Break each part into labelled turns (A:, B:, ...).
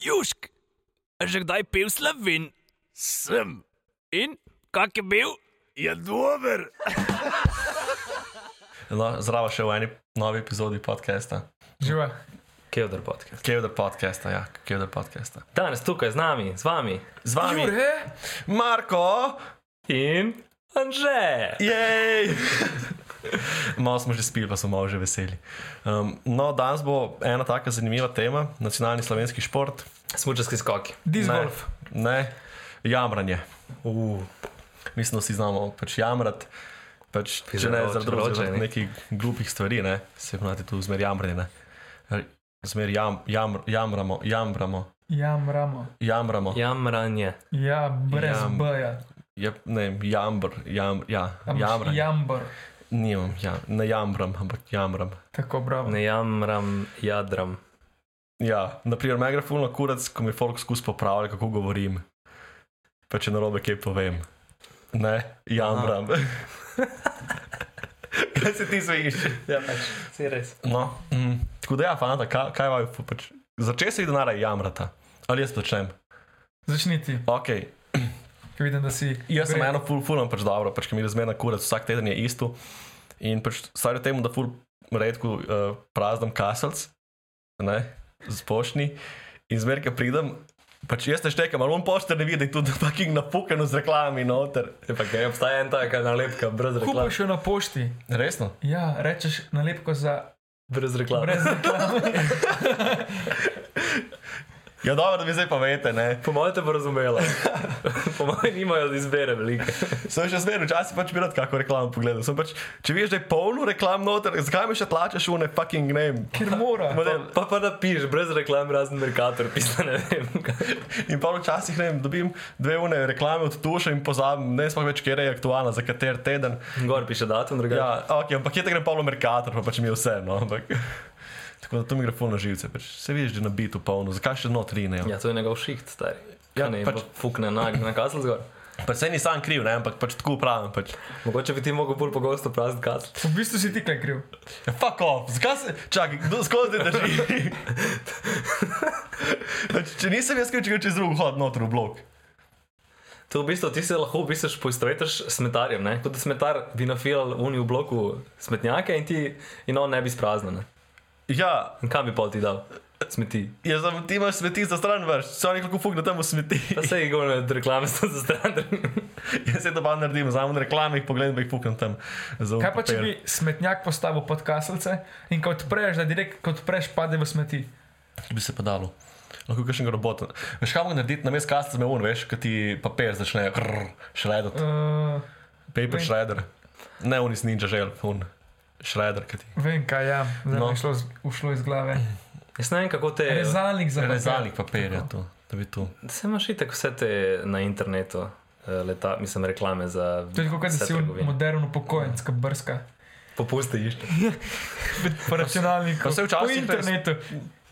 A: Južk, a že kdaj pil slovin? Sem. In kak je bil? Je dober.
B: No, zdravo še v eni novi epizodi podcasta.
C: Živa.
D: Kevdar podcast.
B: Kevda podcasta, ja, kevda podcasta.
D: Danes tukaj z nami, z vami
B: Z vami,
C: Jure,
B: Marko,
D: in Anže.
B: jej! malo smo že spili, pa smo malo že veseli. Um, no, danes bo ena taka zanimiva tema, nacionalni slovenski šport.
D: Smučarski skoki.
C: disc
B: Ne,
C: golf.
B: Ne, jamranje. Uh. Mislim, da si znamo pač jamrati. Pač, če ne,
D: Vroče,
B: zaradi drugega,
D: vroče,
B: zaradi
D: ne.
B: nekih glupih stvari, ne? se imate tu zmer jamranje. Ne? Zmer jam, jam, jamramo, jamramo,
C: Jamramo.
B: jamramo.
D: Jamranje.
C: Ja, brez
B: Jam.
C: B-ja.
B: Ja, ne, jambr, jam, ja, jamram. Ja.
C: Jambr.
B: Nimam, ja, ne jambram, ampak jamram.
C: Tako bravo.
D: Ne jamram, jadram.
B: Ja, naprimer, me gre fulno kurac, ko mi folk skus popravlja, kako govorim. Pa če narobe kaj povem. Ne, jamram.
D: Kaj se ti zviš? Ja, pač, si res.
B: No, mm, tako da ja, fanta, kaj, kaj vaju pač. Začel se jih denarja jamrata. Ali jaz počnem?
C: Začni ti,
B: Ok,
C: ker vidim, da si.
B: jaz sem
C: vred.
B: eno ful, fulno pač dobro, pač ki mi razmerno kurac, vsak teden je isto. In pač stvar je v tem, da ful redko uh, praznim kaselc, ne, z pošni. In zmer, ki pridem, pač jaz neštekam, ali on pošter ne vidi, da je tudi fucking napukano z reklami noter.
D: Je pa kaj, obstaja ena taka nalepka, brez reklam.
C: Kupiš jo na pošti.
B: Resno?
C: Ja, rečeš nalepko za
D: Brez reklam.
C: brez reklame.
B: Ja, dobro, da vi zdaj pa veste, ne.
D: Po mojem te bo razumela. po mojem nimajo izbire velike.
B: Sem še zmeraj, včasih pač bi rad kako reklamo pogledal. Sem Pač, če veš, da je polno reklam noter, zakaj mi še tlačeš v ne fucking name?
C: Ker mora.
D: Pa, pa pa napiš, brez reklam, razen Merkator, pisa ne vem.
B: In pa včasih ne vem, dobim dve une reklame od tuša in pozabim, ne sploh več, kje je aktualna, za kater teden.
D: Gor piše datum, drugače.
B: Ja, ok, ampak kje te gre polno merkator, pa pač mi je vse, no, ampak. Tako da to mi gre polno živce, pač se vidiš, da je nabitu polno, zakaj še notri ne?
D: Ja, to je njegov šiht, stari.
B: Ja,
D: Ja, ne,
B: pač-
D: pač fukne na, na kasl zgor.
B: Pa se ni sam kriv, ne, ampak pač tako pravim, pač.
D: Mogoče bi ti mogel bolj pogosto prazniti kasl.
C: V bistvu si ti kaj kriv.
B: Ja, fuck off, zakaj se, čakaj, kdo skozi te drži? pač, če nisem jaz kriv, če gre čez drug hod noter v blok.
D: To v bistvu ti se lahko v bistvu poistovetiš s smetarjem, ne? kot da smetar bi nafilal v uniju bloku smetnjake in ti in on ne bi spraznjen.
B: Ja,
D: In kam bi pol ti dal? Smeti.
B: jaz sem ti imaš smeti za stran vrš, se oni lahko fukne tam v smeti.
D: Pa se je gore od reklame sta za stran.
B: Jaz se to pa naredim, vzamem reklame, jih pogledam, pa jih pukam tam. za
C: Kaj pa če
B: papir.
C: bi smetnjak postavil pod kaselce in ko odpreš, da direkt kot odpreš, pade v smeti.
B: bi se pa dalo? Lahko kakšen robot. Veš, kaj moram narediti, namesto kasta zmeun, veš, kaj ti papir začne šredati.
C: Uh,
B: Paper
C: ne.
B: shredder. Ne, on iz ninja žel, on shredder, kaj ti.
C: vem kaj, ja, zdaj
B: No.
C: no. je šlo, z- ušlo iz glave.
D: Jaz ne vem, kako te.
C: Rezalnik za papir.
B: Rezalnik papirja to, da bi to.
D: Se imaš itek vse te na internetu, eh, leta, mislim, reklame za.
C: To je kot da
D: vse
C: si
D: trgovine.
C: modern upokojenec, ki brska.
D: Popusti išče.
C: Po računalniku,
B: pa se včasih
C: po
B: res-
C: internetu.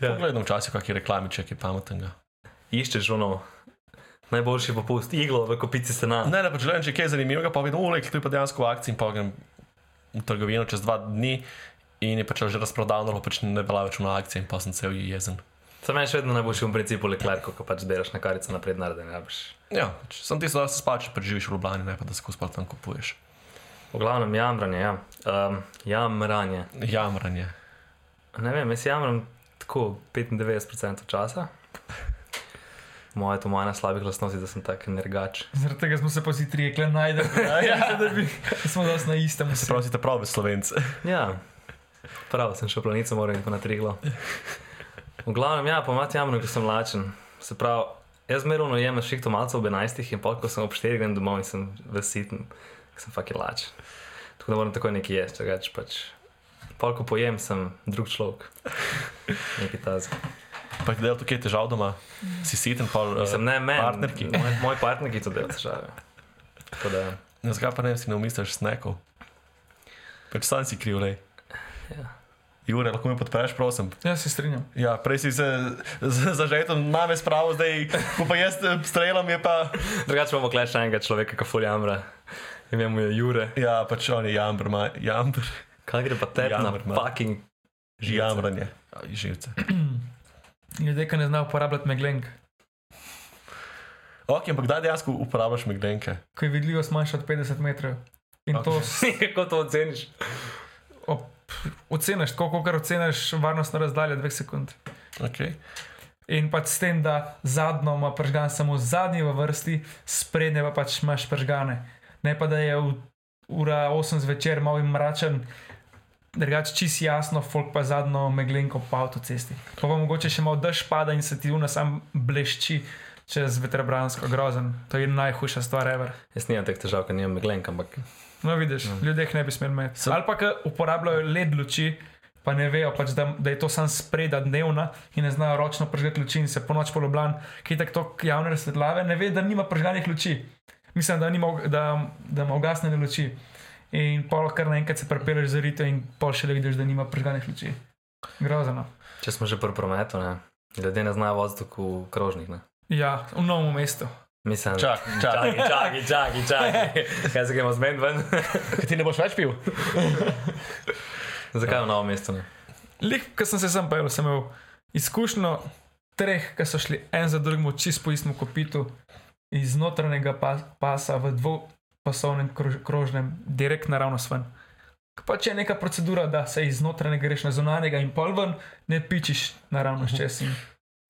B: Ja. Pogledam včasih, kak je reklamiček je pameten.
D: Iščeš ono. Najboljši popust, iglo v kopici sena.
B: Ne, ne, pač gledam, če je kaj zanimivega, pa vidim, ulej, to je pa dejansko v akciji in pa grem v trgovino čez dva dni in je pač že razprodano, pa pač ne bila več na akciji in pa sem cel jezen.
D: Sam meni še vedno najboljši v principu leklar, ko pač delaš na karico naprej, naredi ne rabiš.
B: Ja, pač sem ti zdaj spal, če pač živiš v Ljubljani, ne pa da se kuspal tam kupuješ.
D: V glavnem, jamranje, ja. Um, jamranje.
B: Jamranje.
D: Ne vem, jaz jamram tako 95% časa. Moja to moja slabih lastnosti, da sem tak nergač.
C: Zaradi tega smo se pa vsi trije kle najdeli, ja. da bi da smo danes na istem. vsi.
B: Prav si te pravi, Slovence.
D: Ja, prav, sem šel planico, moram iti pa na triglo. V glavnem, ja, pomati jamram, ko sem lačen. Se pravi, jaz merovno jem na šihto malce ob 11 in pol, ko sem ob 4 grem domov in sem vesiten, ker sem fucking lačen. Tako da moram takoj nekaj jesti, drugače pač. Pol, ko pojem, sem drug človek. Nekaj tazga.
B: Pa ti delo tukaj je težav doma, si siten, pa
D: Mhm. Mislim,
B: uh,
D: ne meni.
B: partnerki.
D: Moj, moj partnerki to dela težave. Tako da, ja.
B: ne, zakaj pa ne si ne umisliš snekov? Pač sam si kriv, le.
D: Ja.
B: Jure, lahko me podpreš, prosim.
C: Ja, se strinjam.
B: Ja, prej si se z- zažetom name spravil, zdaj ko pa jaz eh, streljam, je pa.
D: drugače imamo klej še enega človeka, ki fulja amra. Ime mu je Jure.
B: Ja, pač on je jambr, ma, jambr,
D: Kaj gre pa tebi na
B: Jamr, man.
D: fucking
B: že jamranje. Živce.
C: Ljudje, ki ne znajo uporabljati meglenk,
B: Ok, ampak kdaj dejansko uporabljaš meglenke?
C: ko je vidljivost manjša od 50 metrov. In okay. to s-
D: Kako to oceniš?
C: ob, oceniš, tako kot oceniš varnostno razdaljo dveh sekund.
B: Okay.
C: In pač s tem, da zadnjo ima pržgan samo zadnji v vrsti, sprednje pa pač imaš pržgane. Ne pa da je v, ura 8 zvečer malo in mračen, drugače čist jasno, folk pa zadnjo meglenko po avtocesti. Pa pa mogoče še malo dež pada in se ti una sam blešči čez vetrobransko grozen. To je najhujša stvar ever.
D: Jaz nimam teh težav, ker nimam meglenk, ampak
C: No, vidiš, mm. ljudje jih ne bi smeli imeti.
B: Sem-
C: Ali pa, ki uporabljajo led luči, pa ne vejo, pač, da, da je to sam spreda dnevna in ne znajo ročno prižgati luči in se po noč poloblan, ki je tako javne razsvetljave, ne ve, da nima prižganih luči. Mislim, da, nima, ug- da, da ima ugasnjene luči. In pol kar naenkrat se prepeleš za rito in pol še le vidiš, da nima prižganih luči. Grozno.
D: če smo že pri prometu, ne? ljudje ne znajo voziti v krožnih. Ne?
C: Ja, v novem mestu.
D: Mislim,
B: Čak, čak.
D: čakaj, čakaj, čakaj, čakaj. Kaj se gremo zmeniti ven?
B: Kaj ti ne boš več pil?
D: Zakaj v novo mesto? Ne?
C: Lih, ko sem se sem pojel, sem imel izkušnjo treh, ki so šli en za drugim, čist po istem kopitu, iz notranjega pa, pasa v dvopasovnem krož, krožnem, direkt naravnost ven. Ke Pa če je neka procedura, da se iz notranjega greš na zunanjega in pol ven, ne pičiš naravnost čez. in-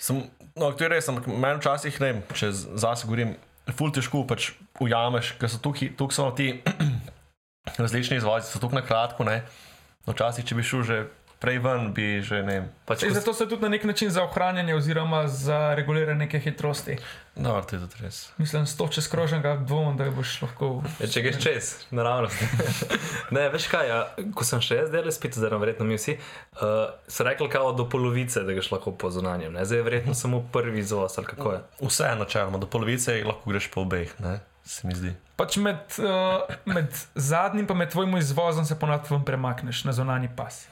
B: Sem, no, to je res, ampak meni včasih ne, vem, če z- zase govorim, ful težko pač ujameš, ker so tukaj, tukaj so ti različni izvajalci, so tukaj na kratko, ne. No, včasih, če bi šel že prej ven, bi že ne. vem,
D: Pač,
C: Saj
D: ko,
C: Zato so tudi na nek način za ohranjanje oziroma za reguliranje neke hitrosti.
B: No, to je tudi res.
C: Mislim, sto čez krožnega dvomim, da boš lahko.
D: Ja, Če greš čez, naravnost. ne, veš kaj, ja, ko sem še jaz delal spet, zdaj verjetno mi vsi, uh, so rekli kao do polovice, da greš lahko po zunanjem. Ne? Zdaj je verjetno samo prvi izvoz ali kako je.
B: Vse je načeloma, do polovice lahko greš po obeh, ne, se mi zdi.
C: Pač med, uh, med zadnjim in med tvojim izvozom se ponovadi ven premakneš na zonani pas.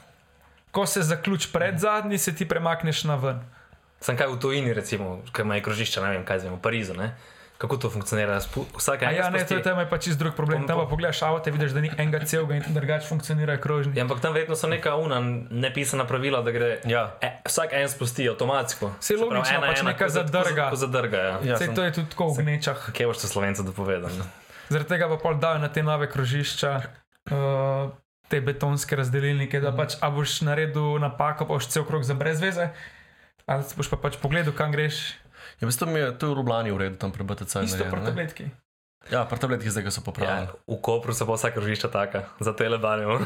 C: Ko se zaključi pred zadnji, se ti premakneš na ven.
D: Sem kaj v tujini, recimo, kaj ima krožišče, ne vem, kaj zdaj v Parizu. Ne? Kako to funkcionira? Spu- Vsak
C: A
D: en
C: ja, ne, to
D: spusti-
C: je tam je pač čist drug problem. Tam pa pogledaš avto, vidiš, da ni enega celega in drugače funkcionirajo krožniki.
D: Ja, ampak tam verjetno so neka una nepisana pravila, da gre.
B: Ja.
D: E, vsak en spusti avtomatsko.
C: Saj
D: Se pravi,
C: logično,
D: ena,
C: pač
D: ena,
C: neka
D: ko za- ko za-
C: zadrga.
D: Ko zadrga, ja.
B: Ja,
C: Ja, Sej,
B: sem-
C: to je tudi tako v gnečah.
D: Kaj boš to slovencu dopovedal? ne?
C: Zaradi tega pa pol dajo na te nove krožišča, uh, te betonske razdelilnike, da pač, a boš naredil napako, pa boš cel krog za brez veze, ali si boš pa pač pogledal, kam greš,
B: Ja, v bistvu mi je to je v Ljubljani v redu, tam pri BTC.
C: isto
B: narejeno,
C: pri
B: ne.
C: tabletki.
B: Ja, pri tabletki zdaj ga so
D: Ja,
B: popravili.
D: v Kopru so pa vsa krožišča taka, za telebane,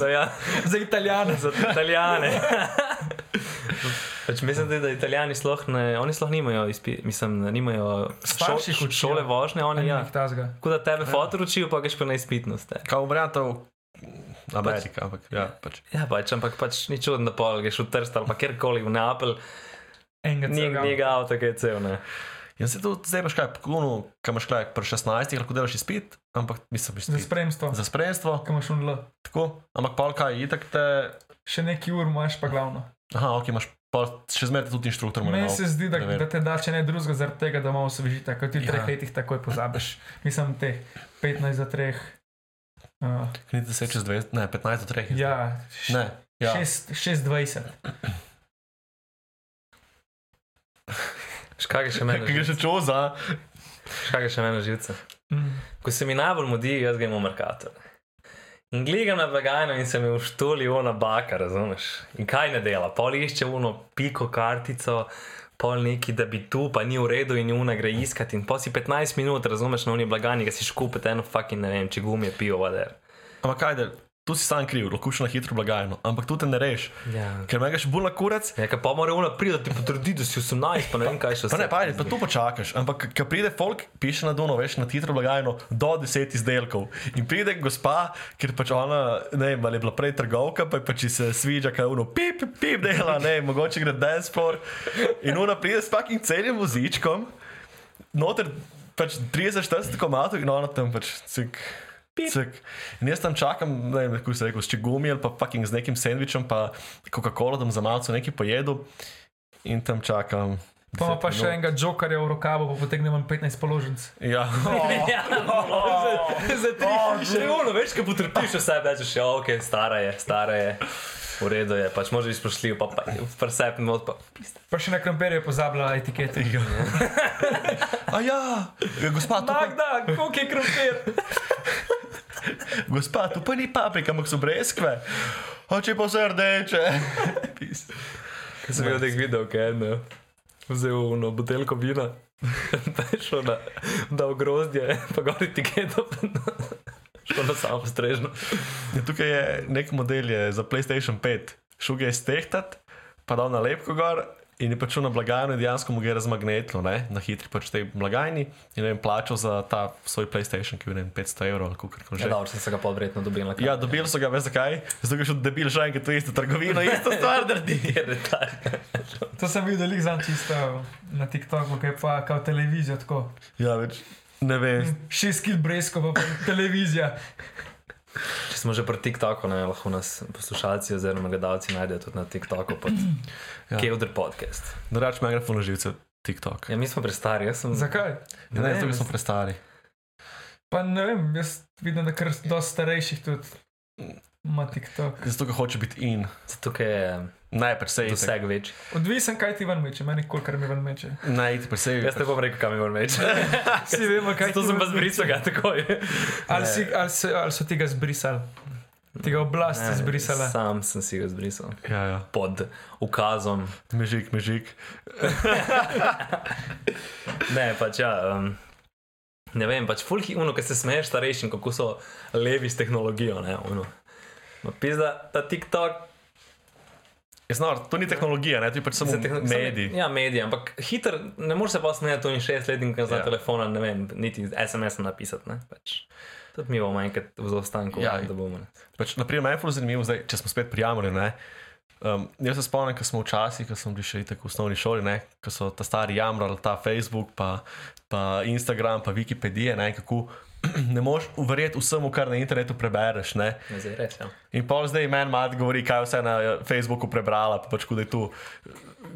D: za, ja,
C: Za italijane.
D: za italijane. Pač mislim, da, da italijani sploh ne, oni sploh nimajo, izpi, mislim, da nimajo
C: Starši jih učijo. Ja.
D: šole vožnje, oni ja.
C: Nek tazga.
D: Tako da tebe fotor učijo, pa greš pa na izpitnost. ne.
B: Kao variantov Amerika, ampak ja, pač.
D: Ja, pač, ampak pač ni čudno, da pol greš v Trst ali pa kjerkoli v Neapelj,
C: Enega
D: nek
C: celega.
D: njega avto, ki je cel. Ne.
B: In se Ja, to zdaj imaš kaj, pokunu, kam imaš kaj, pri 16 lahko delaš izpit, ampak mislim,
C: Za
B: izpit.
C: spremstvo,
B: za spremstvo,
C: kam imaš unlo.
B: tako, ampak pol kaj, itak te,
C: Še neki ur imaš, pa glavno.
B: aha, ok, imaš pol, še zmeraj te tudi inštruktor mora.
C: Meni se zdi, da,
B: preveriti.
C: da te da, če ne drugega, zaradi tega, da malo osvežita, kot ti v
B: Ja.
C: treh letih takoj pozabiš. Mislim, teh 15 za treh. Uh,
B: Ni 10 čez 20, ne, 15 do 3.
C: ja,
B: Ne, ja.
C: 6-20.
D: Škaj je še
B: Kaj
D: meni? na
B: gre še
D: živce?
B: čoza?
D: Škaj je še meni na živce?
C: Mm.
D: Ko se mi najbolj mudi, jaz grem v Merkator. In gledam na blagajno in se mi uštoli ona baka, razumeš? In kaj ne dela, pol išče uno piko kartico, pol neki, da bi tu, pa ni v redu in juna gre iskati. In pol si 15 minut, razumeš, na uni blagajni, ki si škupete eno fucking, ne vem, če gumije pivo, vader.
B: Ampak kaj, da, tu si sam kriv, lahko šel na hitro blagajno, ampak tu te ne reš,
D: Ja.
B: ker me greš bolj na kurac.
D: Ja, pa mora ona priti, da ti potrdi, da si 18, pa ne vem kaj še
B: Pa ne, pa, ajde, pa tu počakaš, ampak ko pride folk, piše na dono, veš, na hitro blagajno do 10 izdelkov. In pride gospa, ker pač ona, ne vem, ali je bila prej trgovka, pa je pač ji se sviđa, kaj uno, pip, pip, pip dela, ne, vem, mogoče gre dance floor. In ona pride s takim celim vozičkom, noter pač 30-40 komatov in ona tam pač cik. Cik. In jaz tam čakam, ne vem, kako se reče, s čigumi ali pa fucking z nekim sendvičem, pa Coca-Cola, da bom za malce nekaj pojedel in tam čakam.
C: Pa ima pa
B: 10
C: še
B: minut.
C: enega jokerja v rokavu, pa potegnemo 15 položnic.
B: Ja,
D: Ja, Oh, za, za tri. Še ono, veš, ko potrpiš vse, rečeš, ja, ok, stara je, stara je. v redu je, pač možeš izprašljiv, pa pa prsepim od pa.
C: Pa še na krompirju je pozabila etiketo.
B: Ja. A ja, gospa, to pa,
C: Magda, koliko je krompir?
B: gospa, to pa ni paprika, ampak so breskve. Oče pa vse rdeče. Pis.
D: Kaj sem videl, da jih videl, kaj je vzel eno butelko vina, pa je šel na dal grozdje, pa gor etiketo, pa na- šel na samo strežno.
B: Ja, tukaj je nek model je za PlayStation 5. Šel ga je stehtat, pa dal nalepko gor in je pač šel na blagajno in dejansko mu ga je razmagnetno, ne? na hitri pač tej blagajni in je plačal za ta svoj PlayStation, ki je bil ne vem, 500 evrov ali kako že.
D: Ja, dobro, sem se ga pa verjetno dobil na
B: Ja, dobili so ga, veš zakaj? Zato, ker je šel debil še enkrat v isto trgovino, isto stvar naredi.
D: je retar.
C: To sem videl, lik zanj čisto na TikToku, ki je pa kao televizija tako.
B: Ja, več ne vem.
C: Šest kil bresko, pa, pa televizija.
D: Če smo že pri TikToku, ne, lahko nas poslušalci oziroma gledalci najdejo tudi na TikToku pod
B: Ja.
D: ja. Kevdr podcast.
B: Drugač me gre polno živce, TikTok.
D: Ja, mi smo prestari, jaz sem
C: Zakaj?
B: Ja, ne,
D: ne,
B: to mi
D: mislim-
B: smo prestari.
C: Pa ne vem, jaz vidim, da kar dosti starejših tudi ima TikTok.
B: Zato, ker hoče biti in.
D: zato, ker je
B: Najprej se je vse.
D: eh, doseg večji.
C: Odvisen, kaj ti ven meče, meni kolikor mi ven meče.
B: Najprej se je
D: Jaz ne bom rekel, kam je vrmeč.
C: Vsi vemo, kaj
D: To
C: ti
D: sem
C: ven
D: pa zbrisal, ga takoj.
C: Ali, si, ali, so, ali so ti ga zbrisali? Ti ga oblast
D: Ne,
C: Ja, zbrisala.
D: Sam sem si ga zbrisal.
B: Ja, ja.
D: Pod ukazom.
B: Mežik, mežik.
D: Ne, pač ja. Um, ne vem, pač fulhi uno, ki se smeješ starejšim, kako so levi s tehnologijo. Ne, uno. Ma pizda, ta TikTok.
B: Jaz, no, to ni tehnologija, ne, to je pač samo
D: se Ja. tehno- samo-
B: medij.
D: Ja, mediji, ampak hiter, ne moreš se pa smejati, to ni šestletnik, ki zna
B: Ja.
D: ja. telefona, ne vem, niti SMS napisati. Ne, pač. Tudi mi bomo enkrat v zaostanku,
B: Ja.
D: ja, da bomo. Ne.
B: Pač, naprimer, meni je zelo zanimivo, zdaj, če smo spet prijamori. ne. Um, jaz se spomnim, ko smo včasih, ko smo bili še tako v osnovni šoli, ne, ko so ta stari jamrali, ta Facebook, pa, pa Instagram, pa Wikipedija, ne, kako ne moš uverjeti vsemu, kar na internetu prebereš. Ne.
D: Ne, zdaj res. Ja.
B: In pa zdaj meni mat govori, kaj vse na eh, Facebooku prebrala, pa pač kuda je tu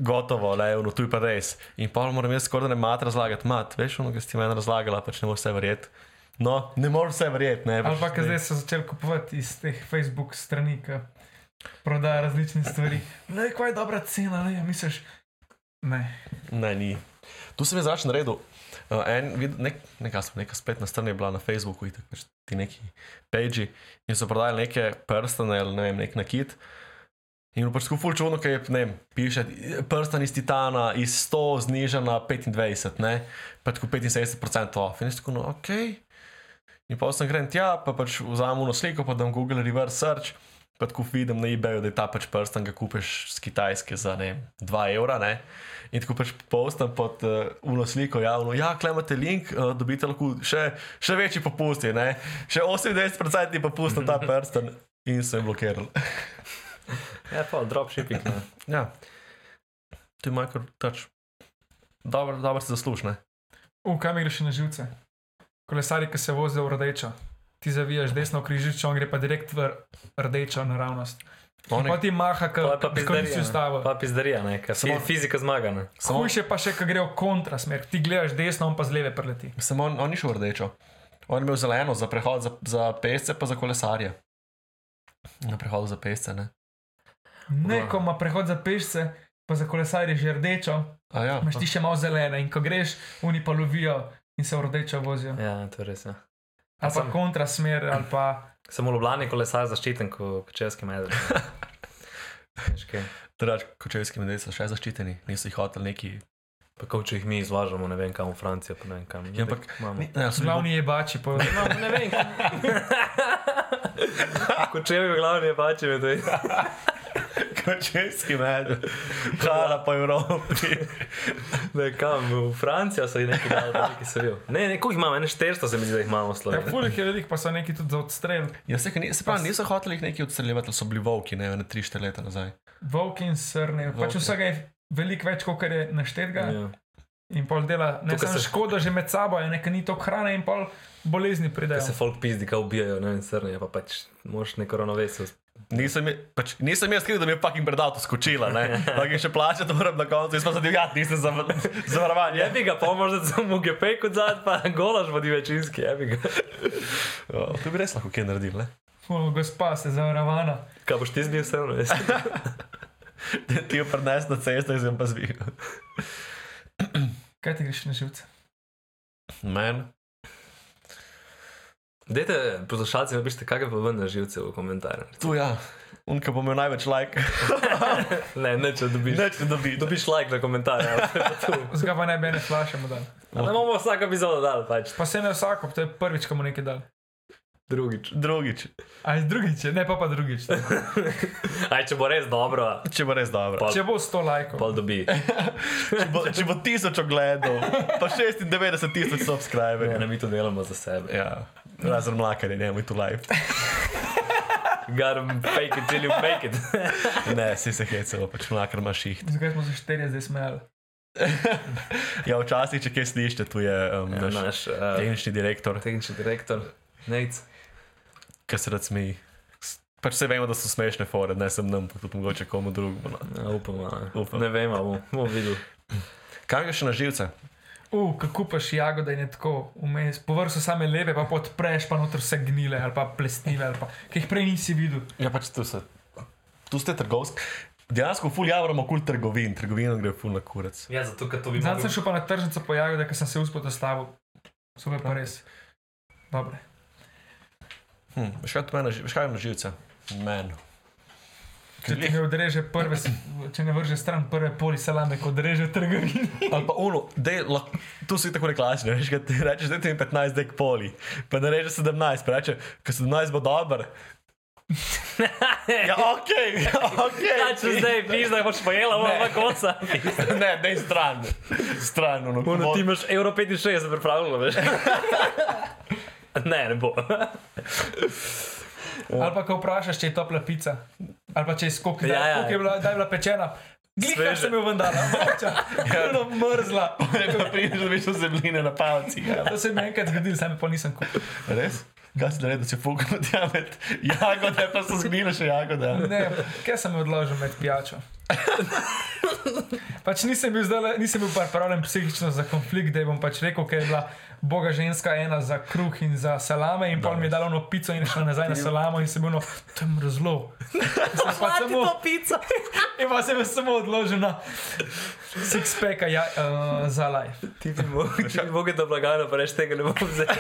B: gotovo, le ono, tu je pa res. In pa moram jaz skoraj da ne mat razlagati, mat, veš, ono, kar si ti meni razlagala, pač ne moreš vse verjeti. No, ne moreš vse verjeti,
D: pač
B: ne. pač
C: Ali pa, ker zdaj so začeli kupovati iz teh Facebook strani, ki prodaja različne stvari. Ne, kaj je dobra cena, ne, misliš? Ne.
B: Ne, ni. Tu sem jaz zračen redu. Uh, en, vid, nek, neka, sem- neka spletna stran je bila na Facebooku, itak, pač ti neki pagei in so prodajali neke prstane ali ne vem, nek nakit. In je bilo pač tako ful čudno, ker je, ne vem, piše prstan iz titana iz 100 znižan na 25, ne, pa tako 75% off. In jaz tako, no, ok. In pa sem grem tja, pa pač vzamem eno sliko, pa dam Google reverse search, pa tako vidim na eBayu, da je ta pač prstan, ga kupiš z Kitajske za ne, vem, 2 evra, ne. In tako pač postam pod uh, uno sliko, javno, ja, klemate link, uh, dobite lahko še, še večji popusti, ne? še 98% popust na ta prsten in se je blokiral.
D: Ja, pa dropshipping. Ne.
B: ja, ti majkar tač. Dobro, dobro si zasluž, ne?
C: V kam greš na živce? Kolesari, ki se vozijo v rdečo. Ti zavijaš desno v križišče, on gre pa direkt v rdečo naravnost.
B: Oni-
C: Pa ti maha,
D: To je
C: kot
D: pa
C: si
D: pizdarija. ne.
C: ustavo.
D: Pa pizdarija, ne, ker
B: Samo-
D: samo fizika zmaga. Ne.
B: Samo,
C: Hujše pa še, ko gre v kontrasmer. Ti gledaš desno, on pa z leve preleti.
B: samo on, on ni šel v rdečo. On je imel zeleno za prehod za, za pesce, pa za kolesarje. Na prehodu za pesce, ne?
C: Ne, ko ima prehod za pešce, pa za kolesarje že rdečo,
B: A ja,
C: imaš ti še malo zelene in ko greš, oni pa lovijo in se v rdečo vozijo.
D: Ja, to je res. Ja.
C: Ali pa
D: Sam-
C: kontrasmer, ali pa
D: Samo Ljubljani kolesar zaščiten kot češki medved. Veš kaj?
B: Drugač, kočevski mediji so še zaščiteni, niso jih hoteli neki.
D: Pa kako če jih mi izvažamo, ne vem kam v Francijo, pa ne vem kam.
B: Ja, ampak-
D: imamo.
B: Ni, ne, so bili-
C: glavni jebači. Pa...
D: No, ne vem. Kot če bi glavni je pač, da je
B: Kočevski med, hala po Evropi.
D: ne, kam, v Francijo so jih neki dali, da neki so bil. Ne, ne, koliko jih imamo, ne 400 se mi zdi, da jih imamo
C: Ja,
D: v Sloveniji.
C: Pulik je velik, pa so neki tudi za odstrel.
B: Ja, se, ni, se pravi, niso hoteli jih neki odstreljevati, ali so bili volki, ne, ne 3-4 leta nazaj.
C: Volk in srne. Pač
B: Volki.
C: vsega je veliko več, kot je naštetega.
D: Ja.
C: In pol dela, ne
D: Tukaj
C: samo
D: se-
C: škoda, že med sabo je nekaj ni to hrane in pol bolezni
D: Ker se
C: pridejo.
D: folk pizdi, ka ubijajo, ne vem, srne, pa pač moraš neko ravnovesje.
B: Nisem, je- pač, nisem jaz skril, da mi je fucking pred avto skočila, ne. Ampak je še plačati moram na koncu, jaz pa zadivjat nisem za, zavarovan.
D: Je bi ga, pa možda sem mu gepej kot zad, pa golaž vodi večinski, je bi ga.
B: Ja, To bi res lahko kaj naredil, ne.
C: O, gospa se zavarovana.
D: Kaj boš ti zbil, vseeno? jaz?
B: Ti jo prenaš na cesto in sem pa zvil.
C: Kaj ti greš na živce?
B: Men,
D: Dajte, poslušalci, napišite, kakšne pa ven na živce v komentarjih.
B: tu ja, unka bo imel največ like.
D: Ne, ne, če dobiš.
B: Neč ne dobi.
D: Dobiš like na komentarje. ja.
C: Zgaj pa ne bi ene flašemo dal.
D: Ne bomo vsako epizodo dali, pač
C: Pa se ne vsako, to je prvič, ko mu nekaj dal.
D: drugič.
B: Drugič,
C: Ali drugič, je, ne pa pa drugič.
D: Aj, če bo res dobro,
B: če bo res dobro.
D: Pa-
C: Če bo 100 lajkov.
D: pol dobi.
B: Če bo, če bo tisoč ogledov, pa 96 tisoč subscriberjev.
D: Ne, mi to delamo za sebe.
B: Ja, razen mlakarje, ne, mi tu live.
D: Gar fake it, till you make it.
B: Ne, si se hecel, pač mlakar imaš jih.
C: Zakaj smo se 40 zdaj smejali?
B: Ja, včasih, če kaj slišite, tu je um,
D: Ja,
B: naš, naš
D: naš eh,
B: tehnični direktor,
D: tehnični direktor. Nec.
B: ki se rad smeji. S- Pač se vemo, da so smešne fore, ne sem nam, pa tudi mogoče komu drugemu. No.
D: Ja, upamo. ne.
B: Upam.
D: Ne vemo, bomo bom videli.
B: Kaj je še na živce?
C: U, ko kupaš jagode in je tako vmes, povrso same lepe, pa podpreš, pa noter vse gnile ali pa plesnive, ali pa, ki jih prej nisi videl.
B: Ja, pač tu se. Tu ste trgovski. Dejansko ful javramo kul trgovin, trgovino gre ful na kurec.
D: Ja, zato, ker to bi
C: Zdaj sem šel pa na tržnico po jagode, ker sem se uspel dostavil. So bile pa res. Dobre.
B: Hm, veš kaj tu meni na ži- veš, kaj je na živce? Men.
C: Če ti ne odreže prve, s- če ne vrže stran prve poli salame, ko odreže trgovino.
B: Ali pa ono, dej, lah, tu si tako neklasičen, veš, kaj ti rečeš, da ti je 15 dek poli, pa ne reče 17, pa reče, ker 17 bo dober. Ja, ok, ja, ok.
D: Ja, če zdaj piš, da boš pojela,
B: Ne.
D: bomo pa konca.
B: Ne, dej stran, stran, ono,
D: Uno,
B: komod.
D: No, ti imaš Euro 65 pripravljeno, veš. Ne, ne bo.
C: Ali pa ko vprašaš, če je topla pica, ali pa če je skok,
D: Ja, ja.
C: da je bila, da je bila pečena. Glika
D: Sveže. Ja.
C: sem jo vendar, moča, krvno mrzla.
B: Ne, prideš, da veš, da se bline na palci. Ja.
C: To se mi je enkrat zgodilo, sam pa nisem kupil.
B: Res? Kaj si naredil, da si fukal na diamet? Jagode, pa so zgnile še jagode. a?
C: Ne, kaj sem odložil med pijačo? Pač nisem bil, zdaj, nisem bil pripravljen psihično za konflikt, da ji bom pač rekel, ker je bila boga ženska ena za kruh in za salame, in pol mi je dala ono pico in je šla nazaj na salamo in se bilo, to je mrzlo. Samo pico. In pa sem jo samo odložil na six peka ja, uh, za life.
D: Ti bi mogel, če bi mogel do blagajne, pa reči tega ne bom vzel.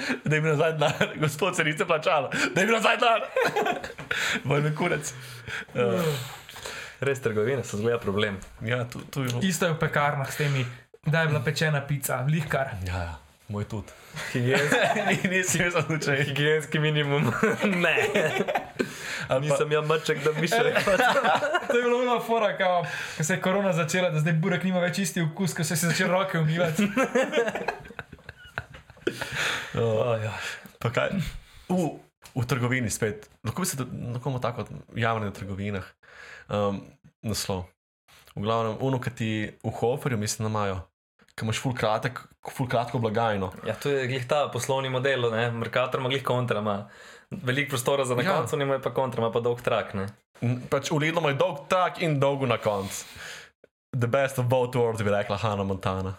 B: Da je bil nazaj denar, gospod se niste plačala, da je bil nazaj denar. Boj me kurec. Uh,
D: Res trgovine so zgleda problem.
B: ja, tu, tu je bilo.
C: Isto je v pekarnah s temi, da je bila pečena pica, lihkar.
B: Ja, ja, moj tudi.
D: Higienski,
B: Nisi jaz odločen.
D: higienski minimum. Ne, nisem jaz mrček, da bi še.
C: To je bilo ono fora, kao, ko se je korona začela, da zdaj burek nima več isti okus, ko se si začel roke umivati.
B: Uh,
D: ja.
B: pa kaj? U, v trgovini spet. Lahko bi se nekomu tako javljali v trgovinah. Um, naslov. V glavnem, uno, ki ti v hoferju, mislim, da imajo. Ki imaš ful, kratek, ful kratko blagajno.
D: Ja, to je glih ta poslovni model, ne? Merkator ima glih kontra, ima veliko prostora za na
B: Ja.
D: koncu, nima pa kontra, ima pa dolg trak, ne?
B: N- Pač v Lidlu imaš dolg trak in dolgo na koncu. The best of both worlds, bi rekla Hanna Montana.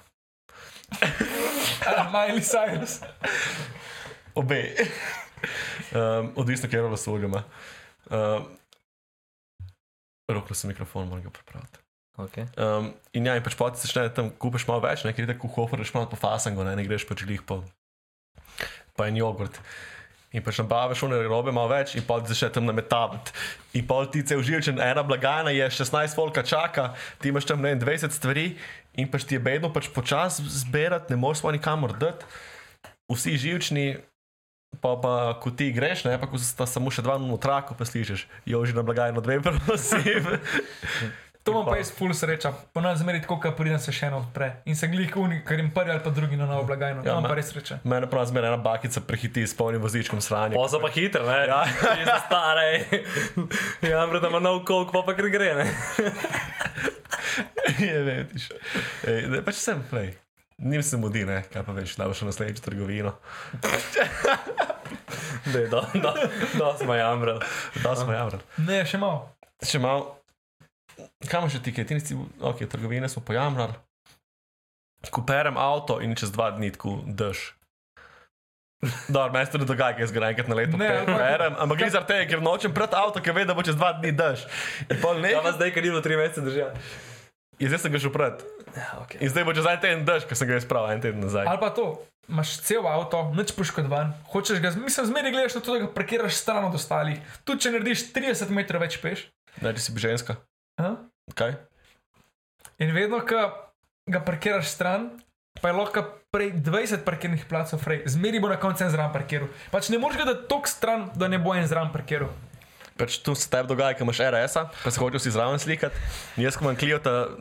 C: Ah, Miley Cyrus.
B: Obe. um, odvisno, kje rola služima. Um, Roklo sem mikrofon, moram ga pripraviti.
D: Okay.
B: Um, in ja, in pač poti začne tam, kupiš malo več, nekaj tako hofereš malo po fasangu, ne, ne greš pač glih po, po en jogurt. In pač nabaviš one robe malo več in poti začne tam nametavati. In pol ti se uživčen, ena blagajna je 16 volka čaka, ti imaš tam ne vem 20 stvari in pač ti je bedno pač počas zbirati, ne moreš svoje nikamor dati. Vsi živčni, pa pa ko ti greš, ne, pa ko sta samo še dva nutraku, pa slišiš, jo že na blagajno dve prosim.
C: To imam pa jaz full sreča. Ponavadi zmeri tako, ko pridem se še eno odpre. In se glih unik, ker jim prvi ali pa drugi na novo blagajno.
B: Ja,
C: Ja, imam
B: ma-
C: pa res sreče.
B: Mene prav zmeraj ena bakica prehiti s polnim vozičkom sranja.
D: Poza pa hitro, ne? Ja, že stare. Ja, brat, ima nov kok, pa pa ker gre, ne?
B: je, veš. Ej, ne, pač sem prej. Nim se mudi, ne, kaj pa veš, da boš na naslednjo trgovino.
D: Da, je do, do, do smo jamrali.
B: Da smo javni.
C: Ne, še malo.
B: Še malo, kam še ti, kaj ti nisi, ok, trgovine smo pojamrali. Kuperem avto in čez dva dni tako dež. Dobro, meni se ne dogaja, ker jaz ga enkrat na leto
C: Ne,
B: pe-
C: ampak-
B: perem, ampak gre zaradi tega, ker nočem pred avto, ker ve, da bo čez dva dni daš. In pol ne,
D: Ja, pa zdaj, ker ni bilo tri mesece držal.
B: in zdaj sem ga šel pred.
D: Ja, okay.
B: In zdaj bo čez en teden daš, ker sem ga izpravil en teden nazaj.
C: Ali pa to, imaš cel avto, nič poškodovan, hočeš ga, mislim, zmeraj gledaš na to, da ga parkiraš stran od ostalih. Tu, če narediš 30 metrov več peš.
B: Ne, če si bi ženska.
C: a?
B: Kaj?
C: In vedno, ko ga parkiraš stran, pa je lahko prej 20 parkirnih placov, fraj. zmeri bo na koncu en zraven parkiral. Pač ne moreš ga dati tok stran, da ne bo en zraven parkiral.
B: Pač tu se tebi dogaja, ker imaš RS-a, pa se hočeš izraven slikati. In Jaz, ko imam klijota,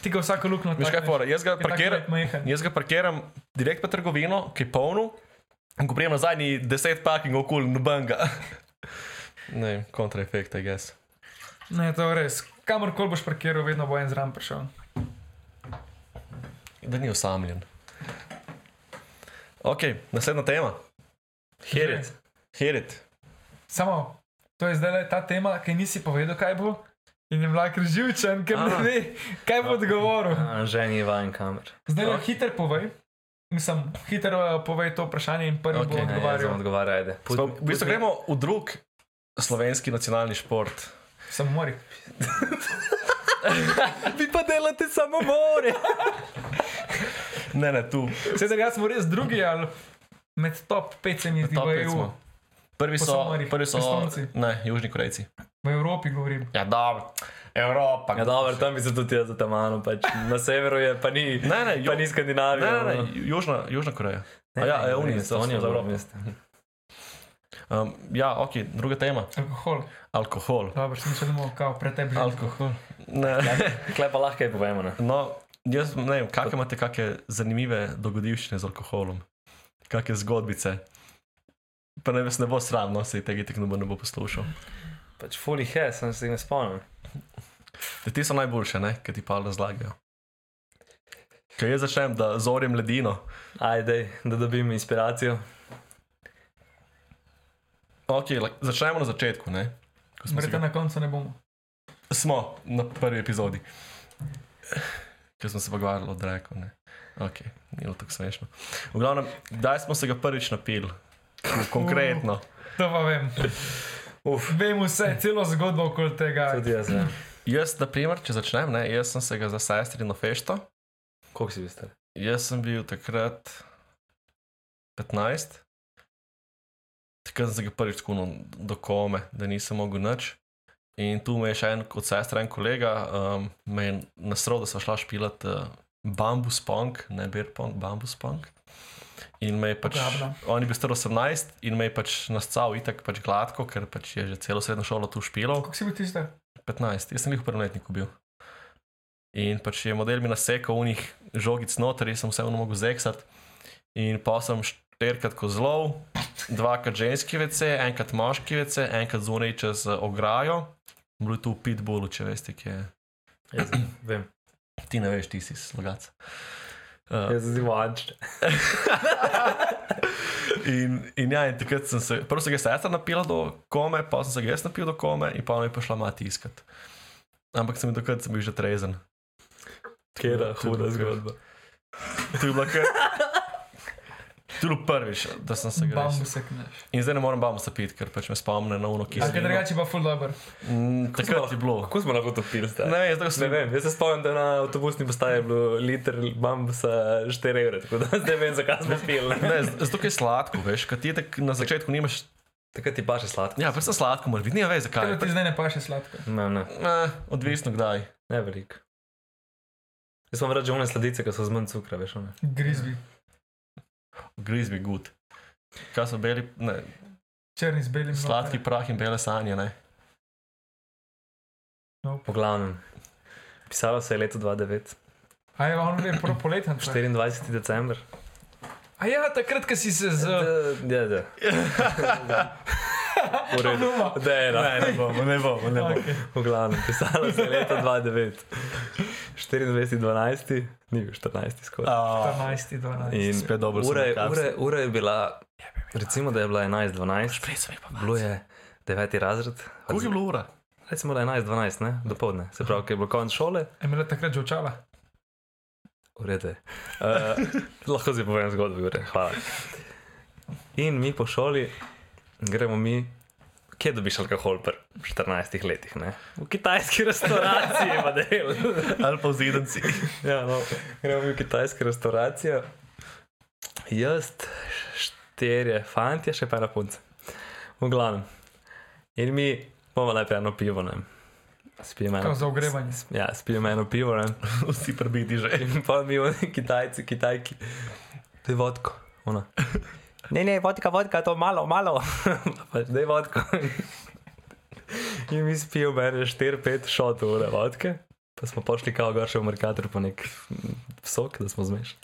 C: Ti ga vsako luknjo
B: veš kaj fora, jaz ga
C: Je tako
B: parkiram.
C: lep majhen.
B: Jaz ga parkiram direkt pred trgovino, ki je polno, in ko prijem nazaj, ni deset parkingov kul, noben ga. Ne, kontraefekt, I guess.
C: Ne, to je res. Kamorkoli boš parkiral, vedno bo en zraven prišel.
B: Da ni osamljen. Ok, naslednja tema.
D: Herit.
B: Herit.
C: Samo, to je zdaj le ta tema, ki nisi povedal, kaj bo. In je mlak živčen, ker ne
D: A.
C: ve, kaj bo odgovoril.
D: Anže Ja, ni vajen kamer.
C: Zdaj le hitro povej. Mislim, hitro eh, povej to vprašanje in prvi
B: Okej,
C: okay,
B: ne,
C: bo
D: Odgovarjam,
C: odgovarjal.
D: odgovarjaj, ajde. Put-
B: Smo, v bistvu
D: put-
B: gremo v drug slovenski nacionalni šport.
C: Sem mori.
D: Vi pa delate samo more.
B: Ne, ne, tu.
C: Vse tega smo res drugi, ali med top 5 se mi zdi
B: Top
C: v E
B: pet
C: EU.
B: smo. Prvi
C: Po
B: so,
C: Samari,
B: prvi so
C: Estonci.
B: ne, Južni Korejci.
C: V Evropi govorim.
B: Ja, dobro. Evropa.
D: Ja, dobro, tam bi se tudi jaz zatamano, pač na severu je, pa ni,
B: Ne, ne,
D: pa
B: ju,
D: ni
B: ne,
D: Skandinavija.
B: ne, ne,
D: ono.
B: Južna, Južna Koreja. A
D: Ne,
B: ja,
D: ne,
B: ja,
D: ne,
B: Unija,
D: Estonija,
B: za
D: dobro,
B: Evropo.
D: veste.
B: Um, ja, ok, druga tema.
C: Alkohol.
B: Alkohol.
C: Dobro, sem še domov, kao pretebi.
B: Alkohol. Ne.
D: Klej pa lahko je povemo. Ne?
B: No, jaz ne vem, kakšne imate kakšne zanimive dogodivščine z alkoholom, kakšne zgodbice. Pa ne, vas ne bo sramno, se tega tek noben ne bo poslušal.
D: Pač fully he, sem se jih ne spomnil.
B: Te, te so najboljše, ne, ki ti pa razlagajo. Kaj jaz začnem, da zorim ledino.
D: Ajde, da dobim inspiracijo.
B: Okay, la, začnemo na začetku, ne? Ko smo, si
C: Smrte
B: ga,
C: na koncu ne bomo.
B: smo na prvi epizodi. Ker smo se pogovarjali o Draku, ne. Ok, ni bilo tako smešno. V glavnem, kdaj smo se ga prvič napili? Konkretno.
C: To pa vem.
D: Uf.
C: Vem vse, celo zgodbo okoli tega.
D: Tudi jaz ja. ne.
B: Jaz, na primer, če začnem, ne, jaz sem se ga za sestrino fešto.
D: Koliko si bil star?
B: Jaz sem bil takrat 15, takrat sem se ga prvič kunil do kome, da nisem mogel nič. In tu me je še en kot sestra, en kolega, um, me je nasrol, da so šla špilat uh, bambus punk, ne beer punk, bambus punk. In me je pač,
C: Uporabna.
B: on je bil star 18 in me je pač nascal itak pač gladko, ker pač je že celo srednjo šolo tu špilal.
C: Kako si bil tiste?
B: 15, jaz sem jih v prvem letniku bil. In pač je model mi nasekal unih žogic noter, jaz sem vseeno mogel zeksati. In pa sem štirikrat kozlov, dvakrat ženski vece, enkrat moški vece, enkrat zunaj čez eh, ograjo. Bilo je tu v pitbullu, če veste, ki je.
D: Jaz ne vem.
B: Ti ne veš, ti si slogac. Uh,
D: Jaz sem zimo anč.
B: in, in ja, in takrat sem se, prvo sem ga sestra napila do kome, pa sem se ga jaz napil do kome in pa me je prišla mati iskat. Ampak sem bil takrat sem bil že trezen.
D: Ja, Kera,
B: To je bilo
D: huda
B: kar-
D: zgodba.
B: To je bilo kar. To je bilo prvič, da sem se ga
C: Bam,
B: res.
C: vse kneš.
B: In zdaj ne morem bam se piti, ker pač me spomne na uno, ki
C: Ampak drugače pa ful dober.
B: Mm, Takrat je bilo.
D: Kako smo lahko to pili star?
B: Ne, jaz tako
D: Ne
B: sem.
D: vem, jaz se spomnim, da na avtobusni postaji je bilo liter bambusa 4 evre, tako da zdaj vem, zakaj smo pili.
B: Ne, z- zato je sladko, veš, kaj ti je tako na začetku nimaš.
D: Takrat ti pa še sladko.
B: Ja, predvsem sladko, moraš biti, ne veš
C: Kaj da
B: zakaj.
C: ti zdaj ne paše sladko?
D: Ne, ne,
B: Eh, odvisno kdaj.
D: ne veliko. Jaz sem rekel, one sladice, ki so z manj cukra, veš, one.
C: Grizbi,
B: Grizbi gud. Kaj so beli, ne,
C: črni z belim.
B: sladki prah in bele sanje, ne.
C: No.
D: Po glavnem. Pisalo se je leto 2009,
C: A je on bil prav poleten. to je.
D: 24. december.
C: A ja, takrat, ko si se z...
D: Ja, ja. V redu.
C: Numa.
D: Da, je, da.
B: ne bomo, ne bomo, ne
C: Okay.
D: V glavnem, pisalo se je leto 2009, 24. 12. ni bil 14. skoraj.
B: bomo.
C: 12, 12.
D: In
B: Spet dobro sem
D: ura, je-
B: nekako.
D: ura, je- ura je bila, ja, recimo, da je bila 11-12,
B: Prej sem jih pa bilo.
D: bilo je 9. razred,
B: Koliko je bilo ura?
D: recimo da je 11-12, ne, dopoledne, se pravi, ko je bilo konec šole,
C: Je imela takrat že očala.
D: Eh, urede. Uh, lahko zdaj povem zgodbo, gore, hvala. In mi po šoli gremo mi. Kje dobiš alkohol pri 14 letih? Ne? V kitajski restavraciji je pa del.
B: ali pa v zidanci.
D: ja, no, gremo mi v kitajsko restauracijo. Jaz, štirje fanti, še pa ena punca. V glavnem. In mi bomo najprej eno pivo, ne. Spijemo eno,
C: Kao za ogrevanje.
D: ja, spijemo eno pivo, ne.
B: Vsi prbiti že.
D: In pa mi oni Kitajci, Kitajki, da je vodko. Ona. Ne, ne, vodka, vodka, to malo, malo, pač da je vodko. In mi spijo mene 4-5 šotov ure vodke, pa smo pošli kao gor še v Merkator po nek mm, sok, da smo zmešali.